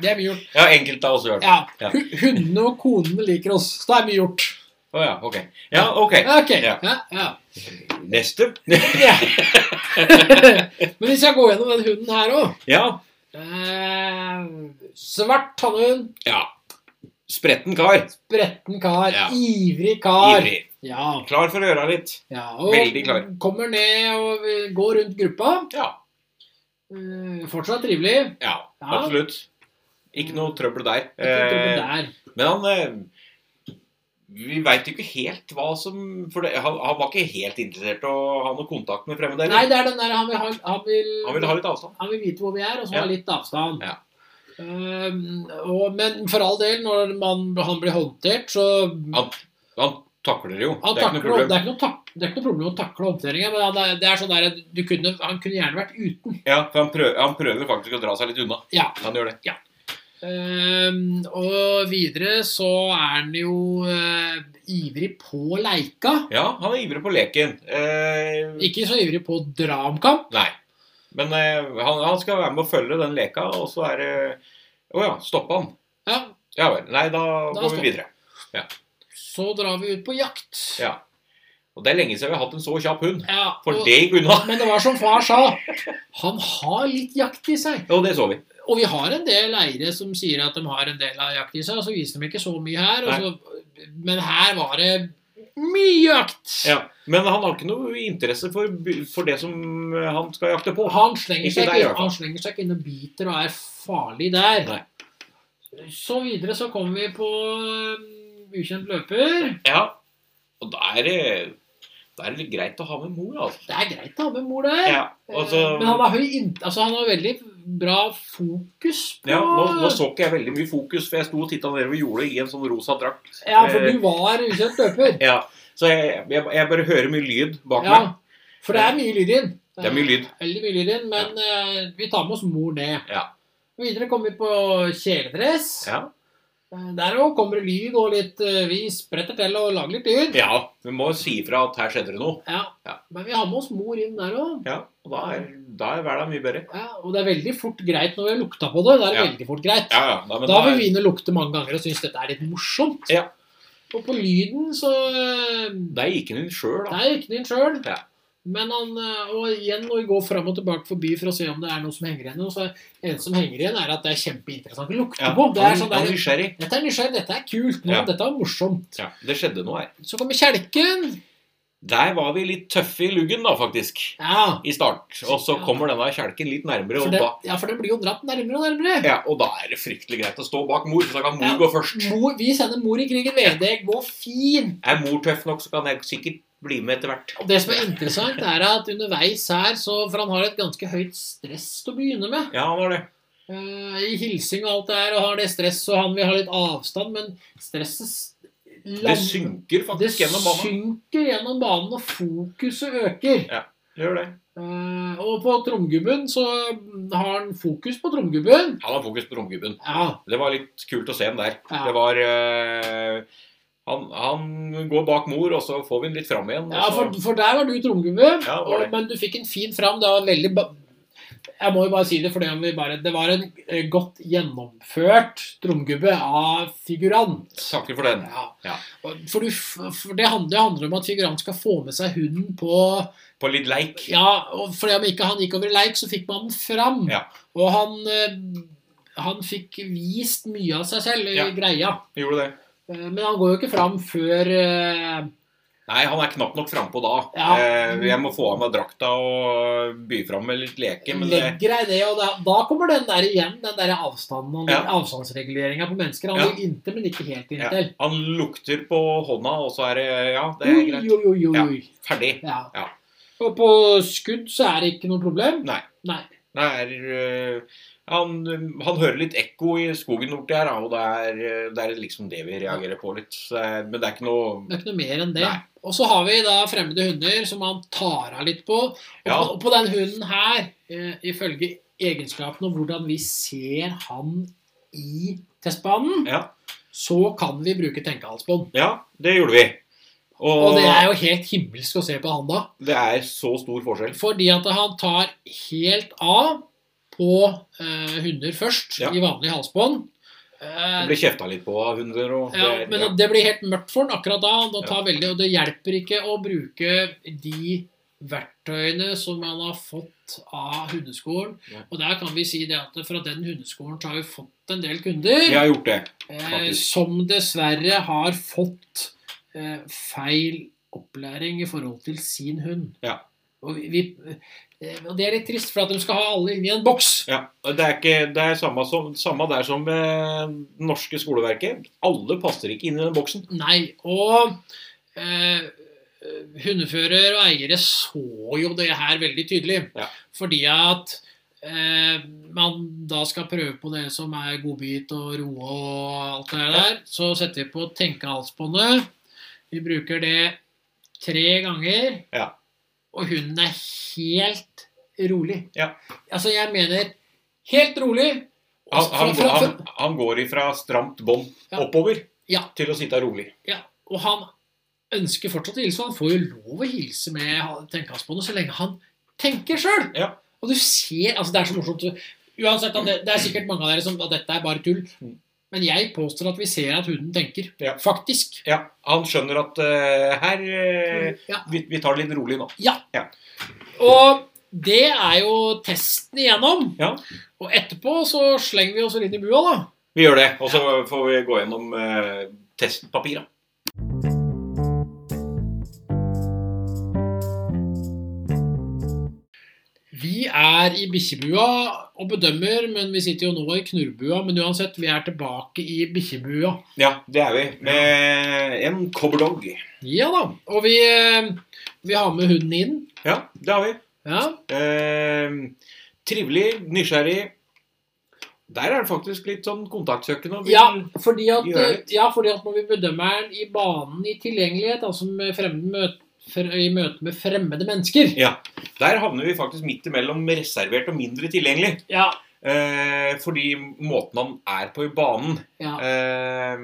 Speaker 2: Det er mye gjort.
Speaker 1: Ja, enkelte av oss gjør det.
Speaker 2: Ja.
Speaker 1: Ja.
Speaker 2: hu- Hundene og konene liker oss. Så det er mye gjort.
Speaker 1: Å ja, ok. Ja, ok.
Speaker 2: Ok.
Speaker 1: Ja.
Speaker 2: Ja, ja.
Speaker 1: Neste.
Speaker 2: Ja. Men hvis jeg går gjennom den hunden her òg
Speaker 1: Ja.
Speaker 2: eh, Svart tannhund,
Speaker 1: ja. Spretten kar.
Speaker 2: bretten kar,
Speaker 1: Ja.
Speaker 2: ivrig kar.
Speaker 1: Ivrig.
Speaker 2: Ja,
Speaker 1: Klar for å gjøre litt.
Speaker 2: ja, og
Speaker 1: Veldig klar.
Speaker 2: Kommer ned og eh, går rundt gruppa.
Speaker 1: Ja.
Speaker 2: Eh, fortsatt trivelig.
Speaker 1: Ja,
Speaker 2: Ja.
Speaker 1: absolutt. Ikke noe trøbbel der.
Speaker 2: Ikke noe
Speaker 1: Eh,
Speaker 2: der.
Speaker 1: men han eh, Vi veit jo ikke helt hva som For det, han, han var ikke helt interessert i å ha noe kontakt med fremmede.
Speaker 2: Nei,
Speaker 1: eller?
Speaker 2: det er den der han vil, ha, han vil,
Speaker 1: Han ville ha litt avstand.
Speaker 2: han vil vite hvor vi er, og så
Speaker 1: Ja.
Speaker 2: ha litt avstand.
Speaker 1: Ja.
Speaker 2: Eh, og, men for all del, når man, han blir håndtert, så
Speaker 1: Han, han takler det jo.
Speaker 2: Han
Speaker 1: det er ikke noe
Speaker 2: takler, det,
Speaker 1: problem.
Speaker 2: er ikke noe tak, det er ikke noe problem å takle håndteringen, men han er- det er sånn der, at du kunne, han kunne gjerne vært uten.
Speaker 1: Ja, for han, prøver, han prøver faktisk å dra seg litt unna.
Speaker 2: Ja.
Speaker 1: Han gjør det.
Speaker 2: Ehm, og videre så er han jo eh, ivrig på leika.
Speaker 1: Ja, han er ivrig på leken. Eh,
Speaker 2: Ikke så ivrig på å dra om kamp.
Speaker 1: nei. Men eh, han, han skal være med og følge den leka, og så er det Å ja, stoppe han.
Speaker 2: Ja,
Speaker 1: Ja vel. Nei, da,
Speaker 2: Da
Speaker 1: går
Speaker 2: stopper.
Speaker 1: vi videre.
Speaker 2: så drar vi ut på jakt.
Speaker 1: Ja. Og det er lenge siden vi har hatt en så kjapp hund.
Speaker 2: Ja,
Speaker 1: For
Speaker 2: og,
Speaker 1: det gikk unna.
Speaker 2: men det var som far sa, han har litt jakt i seg.
Speaker 1: Og det så vi.
Speaker 2: Og vi har en del eiere som sier at de har en del av jakt i seg, og så viser de ikke så mye her. Og så, men her var det mye jakt.
Speaker 1: Men han har ikke noe interesse for, for det som eh, han skal jakte på.
Speaker 2: Han slenger,
Speaker 1: Ikke
Speaker 2: seg
Speaker 1: der, i
Speaker 2: ikke,
Speaker 1: hvert fall.
Speaker 2: han slenger seg ikke inn og biter og er farlig der.
Speaker 1: Nei.
Speaker 2: Så videre så kommer vi på øhm, ukjent løper.
Speaker 1: Ja. Og da er det, da er det litt greit å ha med mor, altså.
Speaker 2: Det er greit å ha med mor der.
Speaker 1: Ja, og så-
Speaker 2: Eh, Men han har, høy, inn- altså, han har veldig bra fokus på
Speaker 1: ja, nå, nå så ikke jeg veldig mye fokus, for jeg sto og titta nedover jordet i en sånn rosa drakt.
Speaker 2: Ja, for du var ukjent løper.
Speaker 1: Ja, Så jeg, jeg, jeg bare hører mye lyd bak
Speaker 2: Ja,
Speaker 1: meg.
Speaker 2: for det er mye lyd inn.
Speaker 1: Det er mye lyd.
Speaker 2: Veldig mye lyd inn, men eh, vi tar med oss mor ned.
Speaker 1: Ja.
Speaker 2: Videre kommer vi på kjeledress.
Speaker 1: Ja.
Speaker 2: Eh, Der òg kommer det lyd og litt eh, Vi spretter til og lager litt lyd.
Speaker 1: ja. Vi må si ifra at her skjedde det noe.
Speaker 2: Ja.
Speaker 1: Ja.
Speaker 2: Men vi har med oss mor inn der òg.
Speaker 1: Ja, og Da er, da er hverdagen mye bedre.
Speaker 2: Ja, og det er veldig fort greit når vi har lukta på det. Det er
Speaker 1: Ja.
Speaker 2: veldig fort greit.
Speaker 1: Ja, ja. Da, men
Speaker 2: da
Speaker 1: da er-
Speaker 2: vil vi inn og lukte mange ganger og synes dette er litt morsomt.
Speaker 1: Ja.
Speaker 2: Og på lyden så eh,
Speaker 1: Der gikk han inn sjøl, da.
Speaker 2: Der gikk den inn sjøl.
Speaker 1: Ja.
Speaker 2: Men han, eh, og igjen når vi går fram og tilbake forbi for å se om det er noe som henger igjen, og så er det eneste som henger igjen, er at det er kjempeinteressant å lukte
Speaker 1: Ja,
Speaker 2: på. Det er
Speaker 1: han-
Speaker 2: sånn
Speaker 1: han
Speaker 2: der,
Speaker 1: nysgjerrig.
Speaker 2: dette er nysgjerrig, dette er kult, nå,
Speaker 1: Ja.
Speaker 2: dette er morsomt.
Speaker 1: Ja, det skjedde noe her.
Speaker 2: Så kommer kjelken.
Speaker 1: Der var vi litt tøffe i luggen, da, faktisk.
Speaker 2: Ja,
Speaker 1: I start. Og så kommer denne kjelken litt nærmere,
Speaker 2: for
Speaker 1: og
Speaker 2: den,
Speaker 1: da,
Speaker 2: ja, for den blir jo dratt nærmere og nærmere.
Speaker 1: ja, og da er det fryktelig greit å stå bak mor, for da kan mor
Speaker 2: Ja.
Speaker 1: gå først.
Speaker 2: Mor, vi sender mor i krigen, ved. det går fint.
Speaker 1: Er mor tøff nok, så kan jeg sikkert bli med etter hvert.
Speaker 2: Og det som er interessant, er at underveis her, så, for han har et ganske høyt stress til å begynne med,
Speaker 1: Ja, han var det.
Speaker 2: eh, i hilsing og alt det her, og har det stress, og han vil ha litt avstand, men stresset s-
Speaker 1: Det
Speaker 2: land-
Speaker 1: synker
Speaker 2: det
Speaker 1: faktisk gjennom banen.
Speaker 2: synker gjennom banen, og fokuset øker.
Speaker 1: Ja. Gjør det.
Speaker 2: Eh, og på tromgubben så har han fokus på
Speaker 1: Han
Speaker 2: tromgubben.
Speaker 1: har fokus på romgubben.
Speaker 2: Ja,
Speaker 1: Det var litt kult å se ham der.
Speaker 2: Ja.
Speaker 1: Det var eh, han, han går bak mor, og så får vi ham litt fram igjen. og
Speaker 2: ja
Speaker 1: så-
Speaker 2: for, for der var du tromgubbe,
Speaker 1: Ja, var
Speaker 2: og-
Speaker 1: det.
Speaker 2: men du fikk en fin fram. Det var veldig ba Jeg må jo bare si det, for det, om vi bare, det var en eh, godt gjennomført tromgubbe av figurant.
Speaker 1: Takker for den.
Speaker 2: Ja.
Speaker 1: Ja.
Speaker 2: Og- For, du, f- for det handler, handler om at figurant skal få med seg hunden på
Speaker 1: På litt leik.
Speaker 2: Ja, og fordi om ikke han gikk over i leik, så fikk man den fram.
Speaker 1: Ja.
Speaker 2: Og han, eh, han fikk vist mye av seg selv i
Speaker 1: Ja.
Speaker 2: greia.
Speaker 1: Gjorde det.
Speaker 2: Eh, Men han går jo ikke fram før eh,
Speaker 1: Nei, han er knapt nok frampå da.
Speaker 2: Ja.
Speaker 1: Eh, jeg må få av meg drakta og by fram med litt leke. Men det,
Speaker 2: legger deg ned, og da, da kommer den der igjen, den der avstanden, og den
Speaker 1: Ja.
Speaker 2: avstandsreguleringa på mennesker. Han
Speaker 1: Ja.
Speaker 2: ligger inntil, men ikke helt
Speaker 1: ja,
Speaker 2: inntil.
Speaker 1: han lukter på hånda, og så er det Ja, det er
Speaker 2: Oi,
Speaker 1: greit.
Speaker 2: oi, oi, oi.
Speaker 1: Ja.
Speaker 2: oi.
Speaker 1: Ferdig.
Speaker 2: Ja.
Speaker 1: Ja.
Speaker 2: Og på skudd så er det ikke noe problem.
Speaker 1: Nei.
Speaker 2: Nei.
Speaker 1: Det er eh, han, han hører litt ekko i skogen borti her, da, og det er, eh, det er liksom det vi reagerer på litt. Så det er- Men det er ikke noe
Speaker 2: Det er ikke noe mer enn det.
Speaker 1: Nei.
Speaker 2: Og så har vi da fremmede hunder som han tar av litt på. Og,
Speaker 1: Ja.
Speaker 2: på, og på den hunden her, eh, ifølge egenskapene og hvordan vi ser han i testbanen,
Speaker 1: Ja.
Speaker 2: så kan vi bruke tenkehalsbånd.
Speaker 1: Ja, det gjorde vi. Og,
Speaker 2: Og det er jo helt himmelsk å se på han da.
Speaker 1: så stor forskjell.
Speaker 2: Fordi at han tar helt av på eh, hunder først,
Speaker 1: Ja.
Speaker 2: i vanlig halsbånd. Eh,
Speaker 1: Det ble kjefta litt på av hunder og
Speaker 2: Ja,
Speaker 1: det er-
Speaker 2: men
Speaker 1: ja.
Speaker 2: det blir helt mørkt for den akkurat da. da tar
Speaker 1: Ja.
Speaker 2: veldig, og det hjelper ikke å bruke de verktøyene som man har fått av hundeskolen.
Speaker 1: Ja.
Speaker 2: Og der kan vi si det at fra den hundeskolen så har vi fått en del kunder
Speaker 1: Jeg har gjort det.
Speaker 2: eh,
Speaker 1: faktisk.
Speaker 2: som dessverre har fått eh, feil opplæring i forhold til sin hund.
Speaker 1: Ja.
Speaker 2: Og, vi, eh, og det er litt trist, for at de skal ha alle inn i en boks.
Speaker 1: Ja, og Det er, ikke, det er samme, som, samme der som eh, det norske skoleverket. Alle passer ikke inn i den boksen.
Speaker 2: Nei, og eh, hundefører og eiere så jo det her veldig tydelig.
Speaker 1: Ja.
Speaker 2: Fordi at eh, man da skal prøve på det som er godbit og roe og alt det der. Så setter vi på tenkehalsbåndet. Vi bruker det tre ganger.
Speaker 1: Ja.
Speaker 2: Og hunden er helt rolig.
Speaker 1: Ja.
Speaker 2: Altså, jeg mener helt rolig.
Speaker 1: Han, han,
Speaker 2: Fra- fra- fra-
Speaker 1: han, han går ifra stramt bånd
Speaker 2: Ja.
Speaker 1: oppover
Speaker 2: Ja.
Speaker 1: til å sitte rolig.
Speaker 2: Ja, og han ønsker fortsatt å hilse. og Han får jo lov å hilse med tenkehalsbåndet så lenge han tenker sjøl.
Speaker 1: Ja.
Speaker 2: Og du ser Altså, det er så morsomt. Uansett, at det, det er sikkert mange av dere som at dette er bare tull.
Speaker 1: Mm.
Speaker 2: Men jeg påstår at vi ser at hunden tenker.
Speaker 1: Ja.
Speaker 2: Faktisk.
Speaker 1: Ja, Han skjønner at eh, her eh,
Speaker 2: Ja.
Speaker 1: vi, vi tar det litt rolig nå.
Speaker 2: Og det er jo testen igjennom.
Speaker 1: Ja.
Speaker 2: Og etterpå så slenger vi oss inn i bua, da.
Speaker 1: Vi gjør det. Og så får vi gå gjennom eh, testpapira.
Speaker 2: Vi er i bikkjebua og bedømmer, men vi sitter jo nå i knurrbua. Men uansett, vi er tilbake i bikkjebua.
Speaker 1: Ja, det er vi. Med en cobberdog.
Speaker 2: Ja da. Og vi, eh, vi har med hunden inn.
Speaker 1: Ja, det har vi.
Speaker 2: Ja.
Speaker 1: Eh, trivelig, nysgjerrig. Der er det faktisk litt sånn kontaktsøkende. og vil-
Speaker 2: Ja, fordi at, eh,
Speaker 1: Gjør det.
Speaker 2: ja, fordi at når vi bedømmer den i banen i tilgjengelighet, altså med fremmede møte, fre- i møte med fremmede mennesker
Speaker 1: Ja, Der havner vi faktisk midt imellom reservert og mindre tilgjengelig.
Speaker 2: Ja.
Speaker 1: Eh, fordi måten han er på i banen
Speaker 2: ja.
Speaker 1: eh,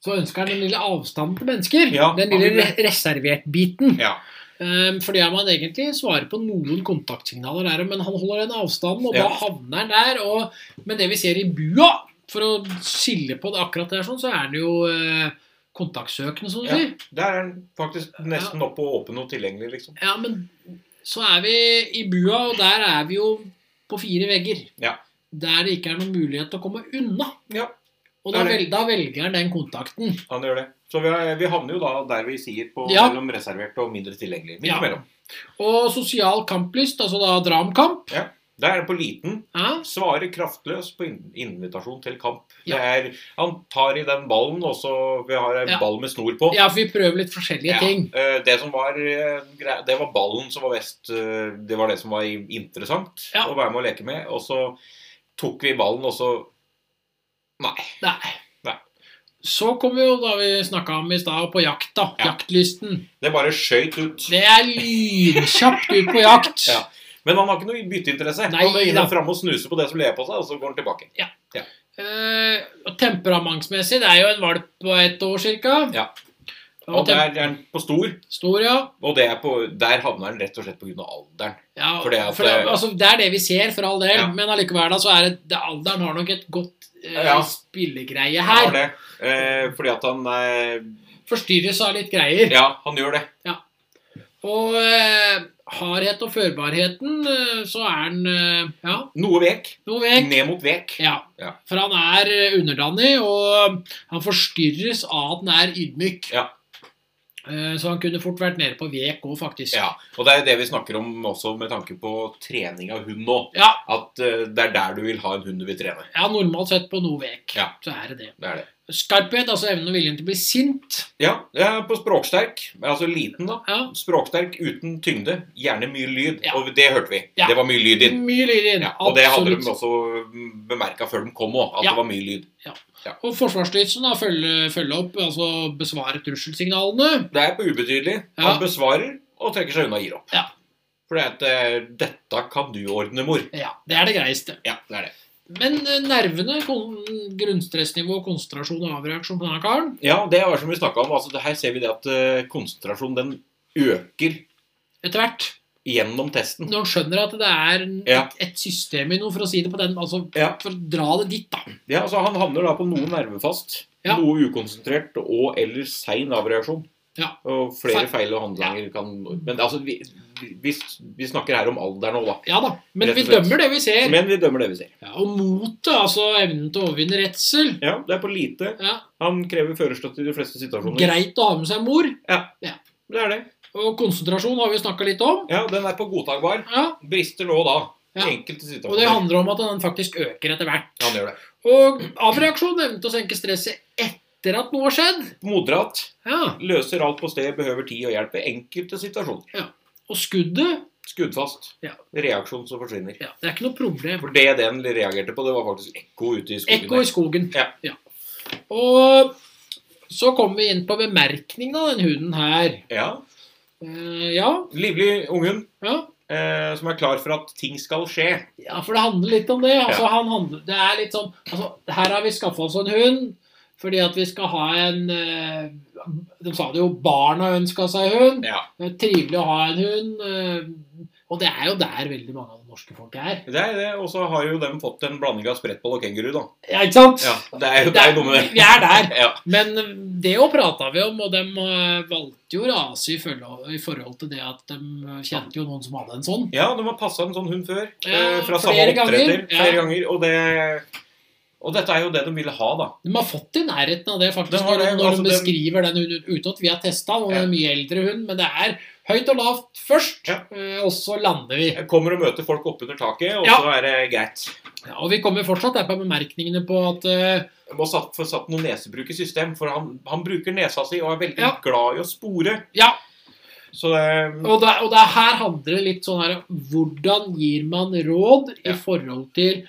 Speaker 2: Så ønsker han den lille avstanden til mennesker.
Speaker 1: Ja.
Speaker 2: Den lille re- reservert-biten.
Speaker 1: Ja.
Speaker 2: Um, fordi om han egentlig svarer på noen kontaktsignaler der, men han holder den avstanden, og
Speaker 1: Ja.
Speaker 2: da havner han der. Og, men det vi ser i bua, for å skille på det akkurat der, sånn, så er den jo eh, kontaktsøkende, som du
Speaker 1: Ja.
Speaker 2: sier.
Speaker 1: Der er han faktisk nesten oppe og åpen og tilgjengelig, liksom.
Speaker 2: Ja, men så er vi i bua, og der er vi jo på fire vegger.
Speaker 1: Ja.
Speaker 2: Der det ikke er noen mulighet til å komme unna.
Speaker 1: Ja.
Speaker 2: Og da,
Speaker 1: Det er
Speaker 2: vel, da velger han den kontakten.
Speaker 1: Han gjør det. Så vi, er, vi havner jo da der vi sier på
Speaker 2: Ja.
Speaker 1: mellom reservert og mindre tilgjengelig. Midt
Speaker 2: Ja.
Speaker 1: imellom.
Speaker 2: Og sosial kamplyst, altså da dramkamp.
Speaker 1: Der er det på liten.
Speaker 2: Ja.
Speaker 1: Svarer kraftløs på in- invitasjon til kamp.
Speaker 2: Ja.
Speaker 1: Det er, han tar i den ballen, og så vi har en
Speaker 2: Ja.
Speaker 1: ball med snor på.
Speaker 2: ja, for vi prøver litt forskjellige
Speaker 1: Ja.
Speaker 2: ting.
Speaker 1: Eh, Det som var eh, grei- Det var ballen som var best eh, Det var det som var i- interessant
Speaker 2: Ja.
Speaker 1: å være med og leke med. Og så tok vi ballen, og så Nei.
Speaker 2: Nei.
Speaker 1: Nei.
Speaker 2: Så kom vi jo, da vi snakka om i stad, på jakt, da.
Speaker 1: Ja.
Speaker 2: Jaktlysten.
Speaker 1: Det bare skøyt ut.
Speaker 2: Det er lynkjapt ut på jakt.
Speaker 1: Ja. Men han har ikke noe bytteinteresse.
Speaker 2: Nei,
Speaker 1: han er
Speaker 2: da.
Speaker 1: inne framme og snuser på det som lever på seg, og så går han tilbake.
Speaker 2: Eh, og temperamentsmessig, det er jo en valp på ett år cirka.
Speaker 1: Ja.
Speaker 2: Og
Speaker 1: Og der
Speaker 2: tem
Speaker 1: er han på stor,
Speaker 2: stor, ja.
Speaker 1: og det er på, der havner han rett og slett pga. alderen.
Speaker 2: ja
Speaker 1: Fordi at- eh,
Speaker 2: for det, altså, det er det vi ser, for all del.
Speaker 1: Ja.
Speaker 2: Men allikevel, da, så er det, det alderen har nok et godt eh,
Speaker 1: Ja.
Speaker 2: spillegreie
Speaker 1: Han har
Speaker 2: her.
Speaker 1: det. Eh, fordi at han eh,
Speaker 2: Forstyrres av litt greier.
Speaker 1: Ja, han gjør det.
Speaker 2: Og eh, hardhet og førbarheten, eh, så er han eh, ja,
Speaker 1: Noe vek.
Speaker 2: noe vekk.
Speaker 1: Ned mot vek.
Speaker 2: Ja.
Speaker 1: Mm. Ja.
Speaker 2: For han er eh, underdanig, og eh, han forstyrres av at han er ydmyk.
Speaker 1: Ja.
Speaker 2: Eh, Så han kunne fort vært nede på vek òg, faktisk.
Speaker 1: Ja, og det er det vi snakker om også med tanke på trening av hund nå.
Speaker 2: Ja.
Speaker 1: At eh, det er der du vil ha en hund du vil trene.
Speaker 2: Ja, normalt sett på noe vek,
Speaker 1: Ja.
Speaker 2: så er det det.
Speaker 1: Det er det.
Speaker 2: Skarphet, altså evnen og viljen til å bli sint.
Speaker 1: Ja, jeg er på språksterk. Altså liten, da.
Speaker 2: Ja.
Speaker 1: Språksterk uten tyngde. Gjerne mye lyd.
Speaker 2: Ja.
Speaker 1: Og det hørte vi.
Speaker 2: Ja.
Speaker 1: Det var mye lyd inn.
Speaker 2: Mye lyd inn.
Speaker 1: Ja, og det hadde de
Speaker 2: absolutt.
Speaker 1: også bemerka før de kom òg, at
Speaker 2: Ja.
Speaker 1: det var mye lyd.
Speaker 2: Og Forsvarsstyrelsen da, følge, følge opp, altså besvare trusselsignalene.
Speaker 1: Det er på ubetydelig.
Speaker 2: Ja.
Speaker 1: Han besvarer og trekker seg unna og gir opp.
Speaker 2: Ja.
Speaker 1: For det er at eh, 'Dette kan du ordne, mor'.
Speaker 2: Ja, Det er det greieste.
Speaker 1: Ja, det er det.
Speaker 2: Men eh, nervene, kon grunnstressnivå, konsentrasjon og avreaksjon på denne karen
Speaker 1: Ja, det var som vi snakka om. Altså, det her ser vi det at eh, konsentrasjonen den øker
Speaker 2: Etter hvert,
Speaker 1: gjennom testen.
Speaker 2: når han skjønner at det er en-
Speaker 1: Ja.
Speaker 2: et, et system i noe, for å si det på den altså
Speaker 1: Ja.
Speaker 2: For å dra det dit, da.
Speaker 1: Ja, altså Han havner da på noe nervefast,
Speaker 2: Ja.
Speaker 1: noe ukonsentrert og eller sein avreaksjon.
Speaker 2: Ja.
Speaker 1: Og flere feil og handlinger kan Men altså, vi, vi, vi snakker her om alder nå, da.
Speaker 2: Ja da. Men
Speaker 1: Rett
Speaker 2: vi
Speaker 1: og slett.
Speaker 2: dømmer det vi ser.
Speaker 1: Men vi dømmer det vi ser.
Speaker 2: Ja, og motet, altså evnen til å overvinne redsel.
Speaker 1: Ja, det er på lite.
Speaker 2: Ja.
Speaker 1: Han krever førerstøtte i de fleste situasjoner.
Speaker 2: Greit å ha med seg mor.
Speaker 1: Det er det.
Speaker 2: Og konsentrasjon har vi snakka litt om.
Speaker 1: Ja, den er på godtakbar.
Speaker 2: Ja,
Speaker 1: Brister nå og da.
Speaker 2: Ja.
Speaker 1: I enkelte
Speaker 2: og det
Speaker 1: situasjoner.
Speaker 2: handler om at den faktisk øker etter hvert.
Speaker 1: Han gjør det.
Speaker 2: Og avreaksjon evnen til å senke stresset etter at noe har skjedd.
Speaker 1: Moderat.
Speaker 2: Ja,
Speaker 1: Løser alt på stedet, behøver tid og hjelp i enkelte situasjoner.
Speaker 2: Og skuddet
Speaker 1: Skuddfast.
Speaker 2: Ja.
Speaker 1: Reaksjon som forsvinner.
Speaker 2: ja, Det er ikke noe problem.
Speaker 1: For det den reagerte på, det var faktisk ekko ute i skogen.
Speaker 2: Ekko i skogen.
Speaker 1: Ja.
Speaker 2: Og så kommer vi inn på bemerkningen av den hunden her.
Speaker 1: Ja.
Speaker 2: Eh, ja,
Speaker 1: Livlig unghund
Speaker 2: ja.
Speaker 1: eh, som er klar for at ting skal skje.
Speaker 2: Ja, for det handler litt om det. Altså, han handler, det er litt sånn, altså, her har vi skaffa oss en hund fordi at vi skal ha en eh, De sa det jo, barna ønska seg hund.
Speaker 1: Ja.
Speaker 2: Det er trivelig å ha en hund. eh, og det er jo der veldig mange av det norske folk er.
Speaker 1: Det er det. Og så har jo de fått en blanding av sprettball og kenguru, da.
Speaker 2: Ja, ikke sant?
Speaker 1: Ja, det er jo det er jo noe med det.
Speaker 2: vi er der.
Speaker 1: Ja.
Speaker 2: Men det òg prata vi om, og de eh, valgte jo rase i, følge- i forhold til det at de kjente jo noen som hadde en sånn.
Speaker 1: Ja, de har passa en sånn hund før.
Speaker 2: Ja,
Speaker 1: eh, fra
Speaker 2: flere
Speaker 1: samme oppdretter
Speaker 2: ganger, ja.
Speaker 1: flere ganger. Og, det, og dette er jo det de ville ha, da.
Speaker 2: De har fått i nærheten av det, faktisk,
Speaker 1: Den har det,
Speaker 2: når, når
Speaker 1: altså,
Speaker 2: de
Speaker 1: den-
Speaker 2: beskriver den hunden utåt. Vi har testa den, og det
Speaker 1: Ja.
Speaker 2: er en mye eldre hund, men det er høyt og lavt først,
Speaker 1: Ja.
Speaker 2: eh, og så lander vi.
Speaker 1: Jeg kommer og møter folk oppunder taket, og
Speaker 2: Ja.
Speaker 1: så er det greit.
Speaker 2: Ja, og vi kommer fortsatt der på bemerkningene på at eh,
Speaker 1: Jeg må satt, få satt noe nesebruk i system, for han, han bruker nesa si og er veldig
Speaker 2: Ja.
Speaker 1: glad i å spore.
Speaker 2: Ja,
Speaker 1: Så eh, det
Speaker 2: Mm. og det, og det her handler det litt sånn her Hvordan gir man råd
Speaker 1: Ja.
Speaker 2: i forhold til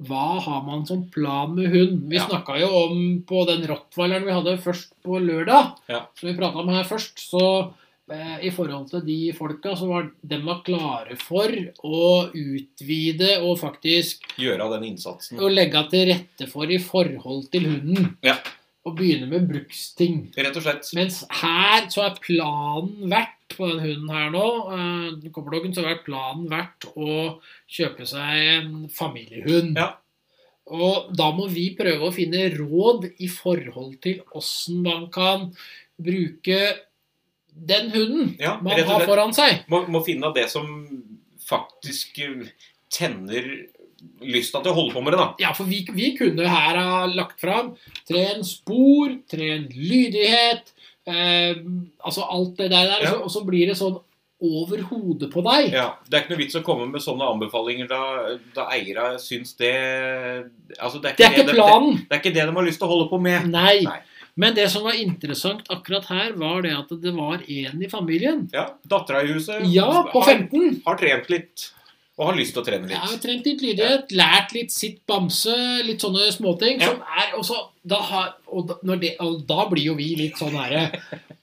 Speaker 2: hva har man som plan med hund? Vi
Speaker 1: Ja.
Speaker 2: snakka jo om på den rottweileren vi hadde først på lørdag,
Speaker 1: Ja.
Speaker 2: som vi prata om her først, så eh, i forhold til de folka, så var de var klare for å utvide og faktisk
Speaker 1: gjør av den innsatsen.
Speaker 2: å legge til rette for i forhold til hunden.
Speaker 1: Mm. Ja.
Speaker 2: Og begynne med bruksting.
Speaker 1: Rett og slett.
Speaker 2: Mens her så er planen verdt på den hunden her nå eh, den Copperdogen så er planen verdt å kjøpe seg en familiehund.
Speaker 1: Ja.
Speaker 2: Og da må vi prøve å finne råd i forhold til åssen man kan bruke den hunden
Speaker 1: Ja,
Speaker 2: man
Speaker 1: rett og
Speaker 2: har
Speaker 1: slett.
Speaker 2: foran seg.
Speaker 1: Må, må finne av det som faktisk eh, tenner lysta til å holde på med det, da.
Speaker 2: Ja, for vi, vi kunne her ha lagt fram tren spor, tren lydighet eh, Altså alt det der. der
Speaker 1: Ja.
Speaker 2: og, så, og så blir det sånn over hodet på deg.
Speaker 1: Ja, Det er ikke noe vits å komme med sånne anbefalinger da, da eiere syns det altså det, er ikke
Speaker 2: Det er ikke
Speaker 1: det,
Speaker 2: planen.
Speaker 1: Det, det er ikke det de har lyst til å holde på med.
Speaker 2: Nei.
Speaker 1: Nei.
Speaker 2: Men det som var interessant akkurat her, var det at det var én i familien.
Speaker 1: Ja, Dattera i huset
Speaker 2: Ja, på
Speaker 1: har,
Speaker 2: 15.
Speaker 1: har trent litt. Og har lyst til å trene
Speaker 2: Jeg har
Speaker 1: litt.
Speaker 2: trent litt lydighet, lært litt sitt bamse, litt sånne småting.
Speaker 1: Ja.
Speaker 2: Som er også da har, og da, når det, og da blir jo vi litt sånn herre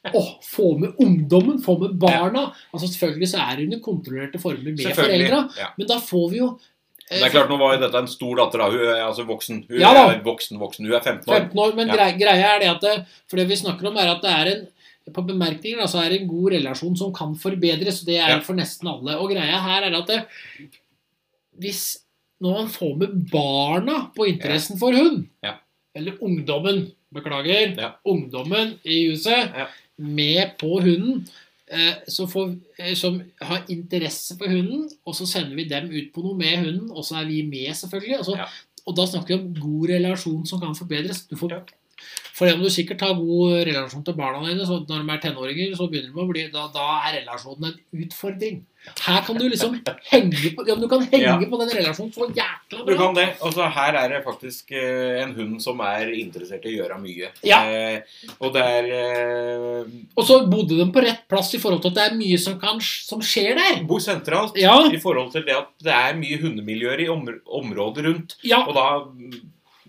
Speaker 2: Å, få med ungdommen! Få med barna! Altså Selvfølgelig så er det under kontrollerte former med foreldra,
Speaker 1: Ja.
Speaker 2: men da får vi jo eh,
Speaker 1: Det er klart, Nå var jo dette en stor datter, da. Hun er altså voksen. Hun
Speaker 2: Ja da.
Speaker 1: er voksen, voksen. Hun er 15 år.
Speaker 2: 15 år, men
Speaker 1: Ja.
Speaker 2: grei- greia er det at det, For det vi snakker om, er at det er en på bemerkninger da, så er det en god relasjon som kan forbedres. Det
Speaker 1: Ja.
Speaker 2: er for nesten alle. Og greia her er at det, hvis når man får med barna på interessen for hund,
Speaker 1: Ja.
Speaker 2: eller ungdommen, beklager,
Speaker 1: Ja.
Speaker 2: ungdommen i huset,
Speaker 1: Ja.
Speaker 2: med på hunden, eh, så får, eh, som har interesse for hunden, og så sender vi dem ut på noe med hunden, og så er vi med, selvfølgelig. Og, så,
Speaker 1: Ja.
Speaker 2: og da snakker vi om god relasjon som kan forbedres. Du får,
Speaker 1: Ja.
Speaker 2: For om du sikkert har god relasjon til barna dine, så når de er tenåringer, så begynner de å bli Da, da er relasjonen en utfordring. Her kan du liksom henge på, ja, men du kan henge
Speaker 1: Ja.
Speaker 2: på den relasjonen så
Speaker 1: Du
Speaker 2: jækla bra.
Speaker 1: kan det. Altså, her er det faktisk eh, en hund som er interessert i å gjøre mye.
Speaker 2: Ja.
Speaker 1: Eh, og det er eh,
Speaker 2: Og så bodde de på rett plass i forhold til at det er mye som, kan, som skjer der.
Speaker 1: bor sentralt
Speaker 2: Ja,
Speaker 1: i forhold til det at det er mye hundemiljøer i omr området rundt.
Speaker 2: ja.
Speaker 1: Og da mm,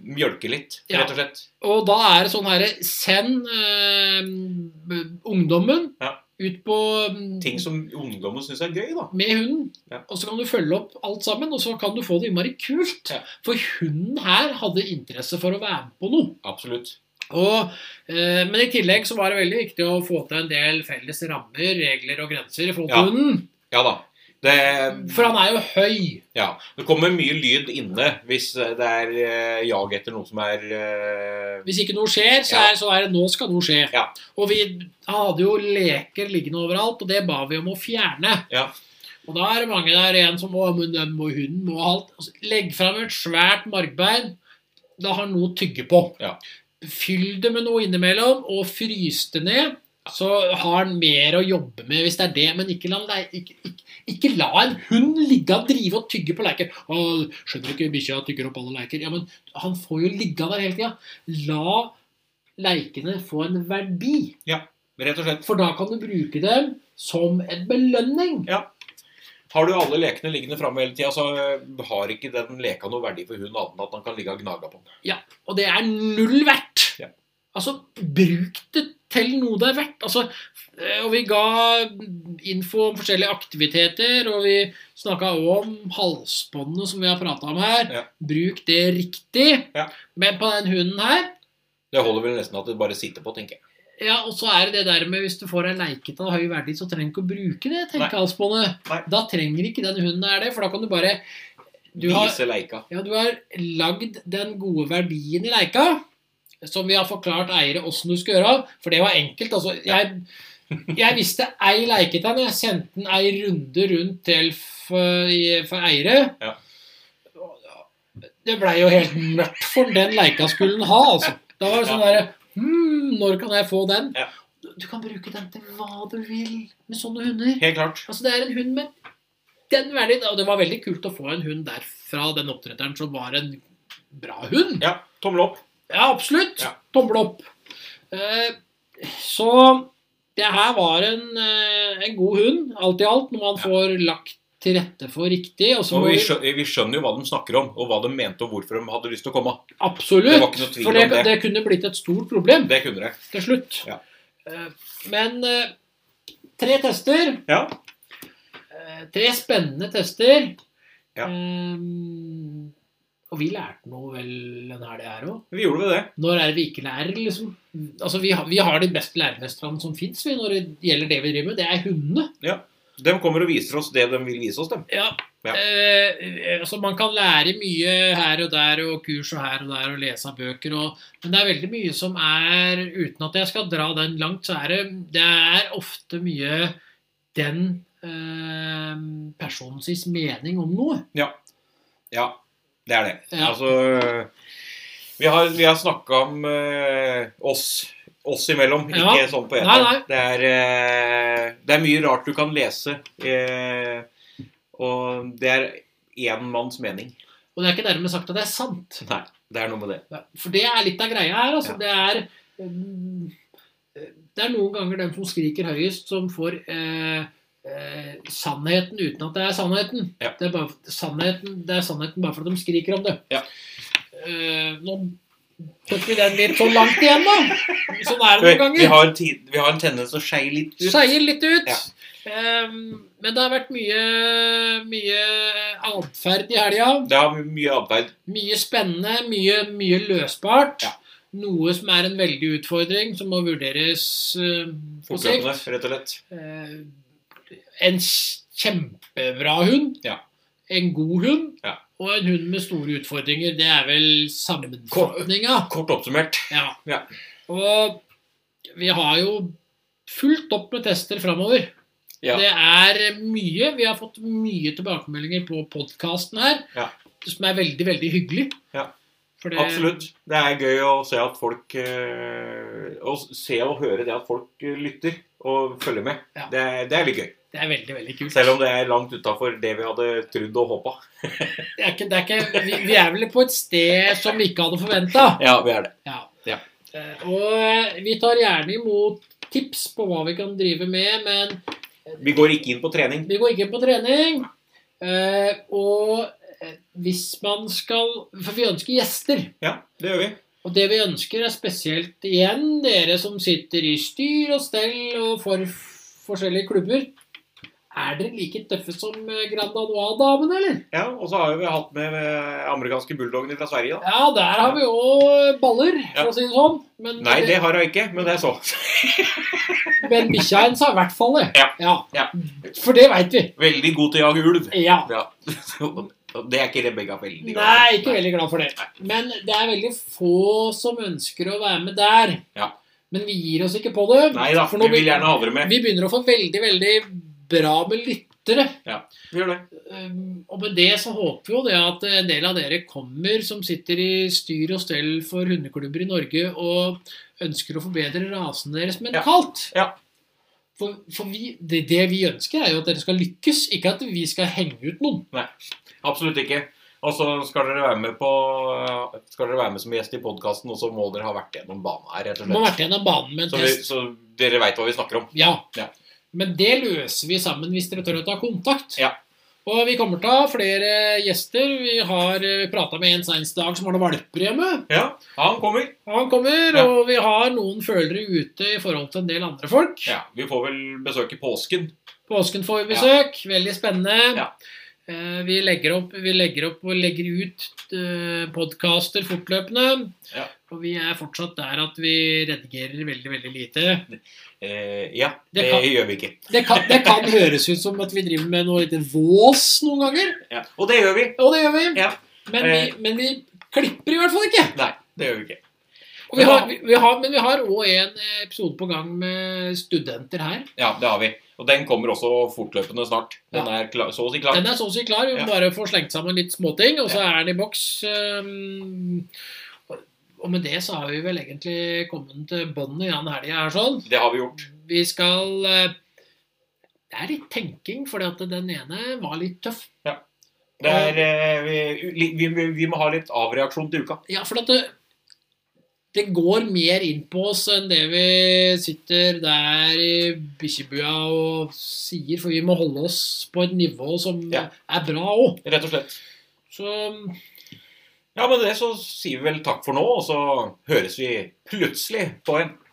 Speaker 1: mjølke litt,
Speaker 2: Ja.
Speaker 1: rett og slett.
Speaker 2: Og da er det sånn herre Send eh, b- ungdommen
Speaker 1: Ja.
Speaker 2: ut på mm,
Speaker 1: Ting som ungdommen syns er gøy, da.
Speaker 2: med hunden,
Speaker 1: Ja.
Speaker 2: og så kan du følge opp alt sammen, og så kan du få det innmari kult.
Speaker 1: Ja.
Speaker 2: For hunden her hadde interesse for å være med på noe.
Speaker 1: Absolutt.
Speaker 2: Og, eh, men i tillegg så var det veldig viktig å få til en del felles rammer, regler og grenser i forhold til
Speaker 1: Ja.
Speaker 2: hunden.
Speaker 1: Ja da. Det,
Speaker 2: For han er jo høy.
Speaker 1: ja. det kommer mye lyd inne hvis det er eh, jag etter noe som er eh,
Speaker 2: Hvis ikke noe skjer, så
Speaker 1: Ja.
Speaker 2: er, så er det sånn nå skal noe skje.
Speaker 1: Ja.
Speaker 2: Og vi hadde jo leker liggende overalt, og det ba vi om å fjerne.
Speaker 1: Ja.
Speaker 2: Og da er det mange der en som må, men den må hunden må alt. Altså, Legg fram et svært markbein. Da har han noe å tygge på.
Speaker 1: Ja.
Speaker 2: Fyll det med noe innimellom, og frys det ned. Så har han mer å jobbe med hvis det er det, men ikke la, han lei- ikke, ikke, ikke la en hund ligge og drive og tygge på leker. Å, 'Skjønner du ikke, bikkja tygger opp alle leker.' Ja, men han får jo ligge der hele tida. La leikene få en verdi.
Speaker 1: Rett og slett.
Speaker 2: For da kan du bruke dem som en belønning.
Speaker 1: Har du alle lekene liggende framme hele tida, så øh, har ikke den leka noe verdi for hunden annet enn at han kan ligge og gnage på den.
Speaker 2: Og det er null verdt.
Speaker 1: Ja.
Speaker 2: Altså, bruk det til noe det er verdt. Altså, eh, og vi ga info om forskjellige aktiviteter, og vi snakka om halsbåndene som vi har prata om her.
Speaker 1: Ja.
Speaker 2: Bruk det riktig.
Speaker 1: Ja.
Speaker 2: Men på den hunden her
Speaker 1: Det holder vel nesten at det bare sitter på, tenker jeg.
Speaker 2: Ja, og så er det det der med hvis du får ei leikete av høy verdi, så trenger du ikke å bruke det tenkehalsbåndet.
Speaker 1: Nei.
Speaker 2: Da trenger ikke den hunden her det, for da kan du bare du har,
Speaker 1: Vise leika.
Speaker 2: ja, du har lagd den gode verdien i leika, som vi har forklart eiere åssen du skal gjøre. For det var enkelt. altså. Jeg, jeg visste ei leike til henne. Jeg sendte den ei runde rundt til for, i- for eiere.
Speaker 1: Ja.
Speaker 2: Det blei jo helt mørkt for den leika skulle den ha, altså. Da var det sånn
Speaker 1: Ja.
Speaker 2: derre hmm, Når kan jeg få den?
Speaker 1: Ja.
Speaker 2: Du, du kan bruke den til hva du vil med sånne hunder.
Speaker 1: Helt klart.
Speaker 2: Altså, det er en hund med den verdien. Og det var veldig kult å få en hund derfra, den oppdretteren som var en bra hund.
Speaker 1: Ja, tommel opp.
Speaker 2: Ja, absolutt.
Speaker 1: Ja.
Speaker 2: Tommel opp. Eh, så det her var en, eh, en god hund, alt i alt, når
Speaker 1: Ja.
Speaker 2: man får lagt til rette for riktig. Og så
Speaker 1: Og
Speaker 2: må
Speaker 1: vi,
Speaker 2: vi
Speaker 1: skjø vi skjønner jo hva de snakker om, og hva de mente, og hvorfor de hadde lyst til å komme. Det var
Speaker 2: Absolutt.
Speaker 1: ikke noe tvil
Speaker 2: For det,
Speaker 1: om det.
Speaker 2: det kunne blitt et stort problem
Speaker 1: Det kunne det.
Speaker 2: til slutt.
Speaker 1: Ja.
Speaker 2: Eh, men eh, tre tester.
Speaker 1: Ja.
Speaker 2: Eh, tre spennende tester.
Speaker 1: Ja.
Speaker 2: Ehm, og vi lærte noe vel den her det er òg.
Speaker 1: Vi gjorde vel det.
Speaker 2: Når er det vi ikke lærer, liksom? Altså, vi har, vi har de beste læremesterne som fins når det gjelder det vi driver med. Det er hundene.
Speaker 1: De kommer og viser oss det de vil vise oss, dem.
Speaker 2: Ja.
Speaker 1: Ja.
Speaker 2: Eh, altså, man kan lære mye her og der, og kurs og her og der, og lese av bøker og Men det er veldig mye som er Uten at jeg skal dra den langt, så er det, det er ofte mye den eh, personens mening om noe.
Speaker 1: Ja, det er det.
Speaker 2: Ja.
Speaker 1: Altså Vi har, vi har snakka om eh, oss. Oss imellom, ikke
Speaker 2: Ja.
Speaker 1: sånn på
Speaker 2: Nei,
Speaker 1: eteren.
Speaker 2: nei.
Speaker 1: Det, er, eh, det er mye rart du kan lese. eh, og det er én manns mening.
Speaker 2: Og det er ikke dermed sagt at det er sant.
Speaker 1: Nei, det er noe med det.
Speaker 2: For det er litt av greia her.
Speaker 1: Ja.
Speaker 2: Altså. Det, er, mm, det er noen ganger dem som skriker høyest, som får eh, eh, sannheten uten at det er sannheten.
Speaker 1: Ja.
Speaker 2: Det, er bare, sannheten. det er sannheten bare for at de skriker om det.
Speaker 1: Ja.
Speaker 2: Eh, nå Håper vi den blir for langt igjen, da. Sånn er
Speaker 1: Vi,
Speaker 2: det noen
Speaker 1: vi,
Speaker 2: ganger.
Speaker 1: har, ti- vi har en tendens til å skeie litt ut.
Speaker 2: Skeier litt ut.
Speaker 1: Ja.
Speaker 2: Ehm, men det har vært mye, mye atferd i helga.
Speaker 1: Det har vi mye arbeid.
Speaker 2: Mye spennende, mye, mye løsbart.
Speaker 1: Ja.
Speaker 2: Noe som er en veldig utfordring, som må vurderes eh, på sikt.
Speaker 1: Fortløpende, rett og slett.
Speaker 2: Eh, en kjempebra hund,
Speaker 1: Ja.
Speaker 2: en god hund,
Speaker 1: Ja.
Speaker 2: og en hund med store utfordringer. Det er vel sammenfatninga.
Speaker 1: Kort oppsummert.
Speaker 2: Ja.
Speaker 1: Ja.
Speaker 2: Og vi har jo fullt opp med tester framover.
Speaker 1: Ja.
Speaker 2: Det er mye. Vi har fått mye tilbakemeldinger på podkasten her,
Speaker 1: Ja.
Speaker 2: som er veldig, veldig hyggelig.
Speaker 1: Ja.
Speaker 2: For det-
Speaker 1: Absolutt. Det er gøy å se at folk eh, Å se og høre det at folk eh, lytter og følger med.
Speaker 2: Ja.
Speaker 1: Det, er- det er litt gøy.
Speaker 2: Det er veldig, veldig kult.
Speaker 1: Selv om det er langt utafor det vi hadde trodd og håpa.
Speaker 2: det er ikke, det er ikke, vi, vi er vel på et sted som vi ikke hadde forventa.
Speaker 1: Ja, vi er det.
Speaker 2: Ja.
Speaker 1: Ja.
Speaker 2: Eh, Og eh, vi tar gjerne imot tips på hva vi kan drive med, men
Speaker 1: Vi går ikke inn på trening.
Speaker 2: vi går ikke på trening. Eh, Og eh, hvis man skal For vi ønsker gjester.
Speaker 1: Ja, det gjør vi.
Speaker 2: Og det vi ønsker, er spesielt igjen dere som sitter i styr og stell og for forskjellige klubber. Er dere like tøffe som eh, Grand Anois-damene, eller?
Speaker 1: Ja, Og så har vi hatt med eh, amerikanske bulldogger fra Sverige, da.
Speaker 2: Ja, der har vi òg baller, for å si det sånn. Men,
Speaker 1: Nei, det har jeg ikke, men det er så.
Speaker 2: men bikkja hennes har i hvert fall det.
Speaker 1: Ja.
Speaker 2: Ja. For det veit vi.
Speaker 1: Veldig god til å jage ulv.
Speaker 2: Ja.
Speaker 1: Ja. Og Det er ikke Rebekka veldig glad for.
Speaker 2: Nei, ikke veldig glad for det. Men det er veldig få som ønsker å være med der.
Speaker 1: Ja.
Speaker 2: Men vi gir oss ikke på det.
Speaker 1: Nei da,
Speaker 2: For
Speaker 1: vi
Speaker 2: nå
Speaker 1: vil gjerne ha dere med.
Speaker 2: Vi begynner å få veldig, veldig bra med lyttere.
Speaker 1: Vi gjør det.
Speaker 2: Um, Og med det så håper vi jo det at en del av dere kommer som sitter i styr og stell for hundeklubber i Norge og ønsker å forbedre rasen deres mentalt.
Speaker 1: Ja.
Speaker 2: For, for vi, det, det vi ønsker, er jo at dere skal lykkes, ikke at vi skal henge ut noen.
Speaker 1: Absolutt ikke. Og så skal dere være med på Skal dere være med som gjest i podkasten, og så må dere ha vært gjennom banen her, rett og
Speaker 2: Vi må ha
Speaker 1: slett.
Speaker 2: vært gjennom banen med en
Speaker 1: Så, vi,
Speaker 2: test.
Speaker 1: så dere veit hva vi snakker om.
Speaker 2: Ja.
Speaker 1: Ja.
Speaker 2: Men det løser vi sammen hvis dere tør å ta kontakt.
Speaker 1: Ja.
Speaker 2: Og vi kommer til å ha flere gjester. Vi har prata med en senest i dag som har noen valper hjemme.
Speaker 1: Ja, han kommer.
Speaker 2: Han kommer,
Speaker 1: Ja.
Speaker 2: og vi har noen følere ute i forhold til en del andre folk.
Speaker 1: Ja, Vi får vel besøk i påsken.
Speaker 2: Påsken får vi besøk. Veldig spennende.
Speaker 1: Ja.
Speaker 2: Eh, Vi legger opp, vi legger opp og legger ut eh, podkaster fortløpende.
Speaker 1: Ja.
Speaker 2: Og vi er fortsatt der at vi redigerer veldig, veldig lite.
Speaker 1: Eh, ja,
Speaker 2: Det
Speaker 1: det,
Speaker 2: kan-
Speaker 1: gjør vi ikke.
Speaker 2: Det kan, det kan høres ut som at vi driver med noe lite vås noen ganger.
Speaker 1: Ja. Og det gjør vi.
Speaker 2: Og det gjør vi.
Speaker 1: Ja. Eh.
Speaker 2: Men, vi. men vi klipper i hvert fall ikke.
Speaker 1: Nei, det gjør vi ikke.
Speaker 2: Og vi har, vi, vi har, men vi har òg en episode på gang med studenter her.
Speaker 1: Ja, det har vi. Og den kommer også fortløpende snart. Den er klar, så å si klar.
Speaker 2: Den er så å si klar. Vi må
Speaker 1: Ja.
Speaker 2: bare få slengt sammen litt småting, og så er den i boks. ehm, og med det så har vi vel egentlig kommet til båndet i den helga her sånn.
Speaker 1: Det har vi gjort.
Speaker 2: Vi skal eh, Det er litt tenking, fordi at den ene var litt tøff.
Speaker 1: Det er, eh, vi, vi, vi, vi må ha litt avreaksjon til uka.
Speaker 2: Ja, for at det, det går mer inn på oss enn det vi sitter der i bikkjebua og sier, for vi må holde oss på et nivå som
Speaker 1: Ja.
Speaker 2: er bra òg.
Speaker 1: Rett og slett.
Speaker 2: Så
Speaker 1: Ja, men det så sier vi vel takk for nå, og så høres vi plutselig på en.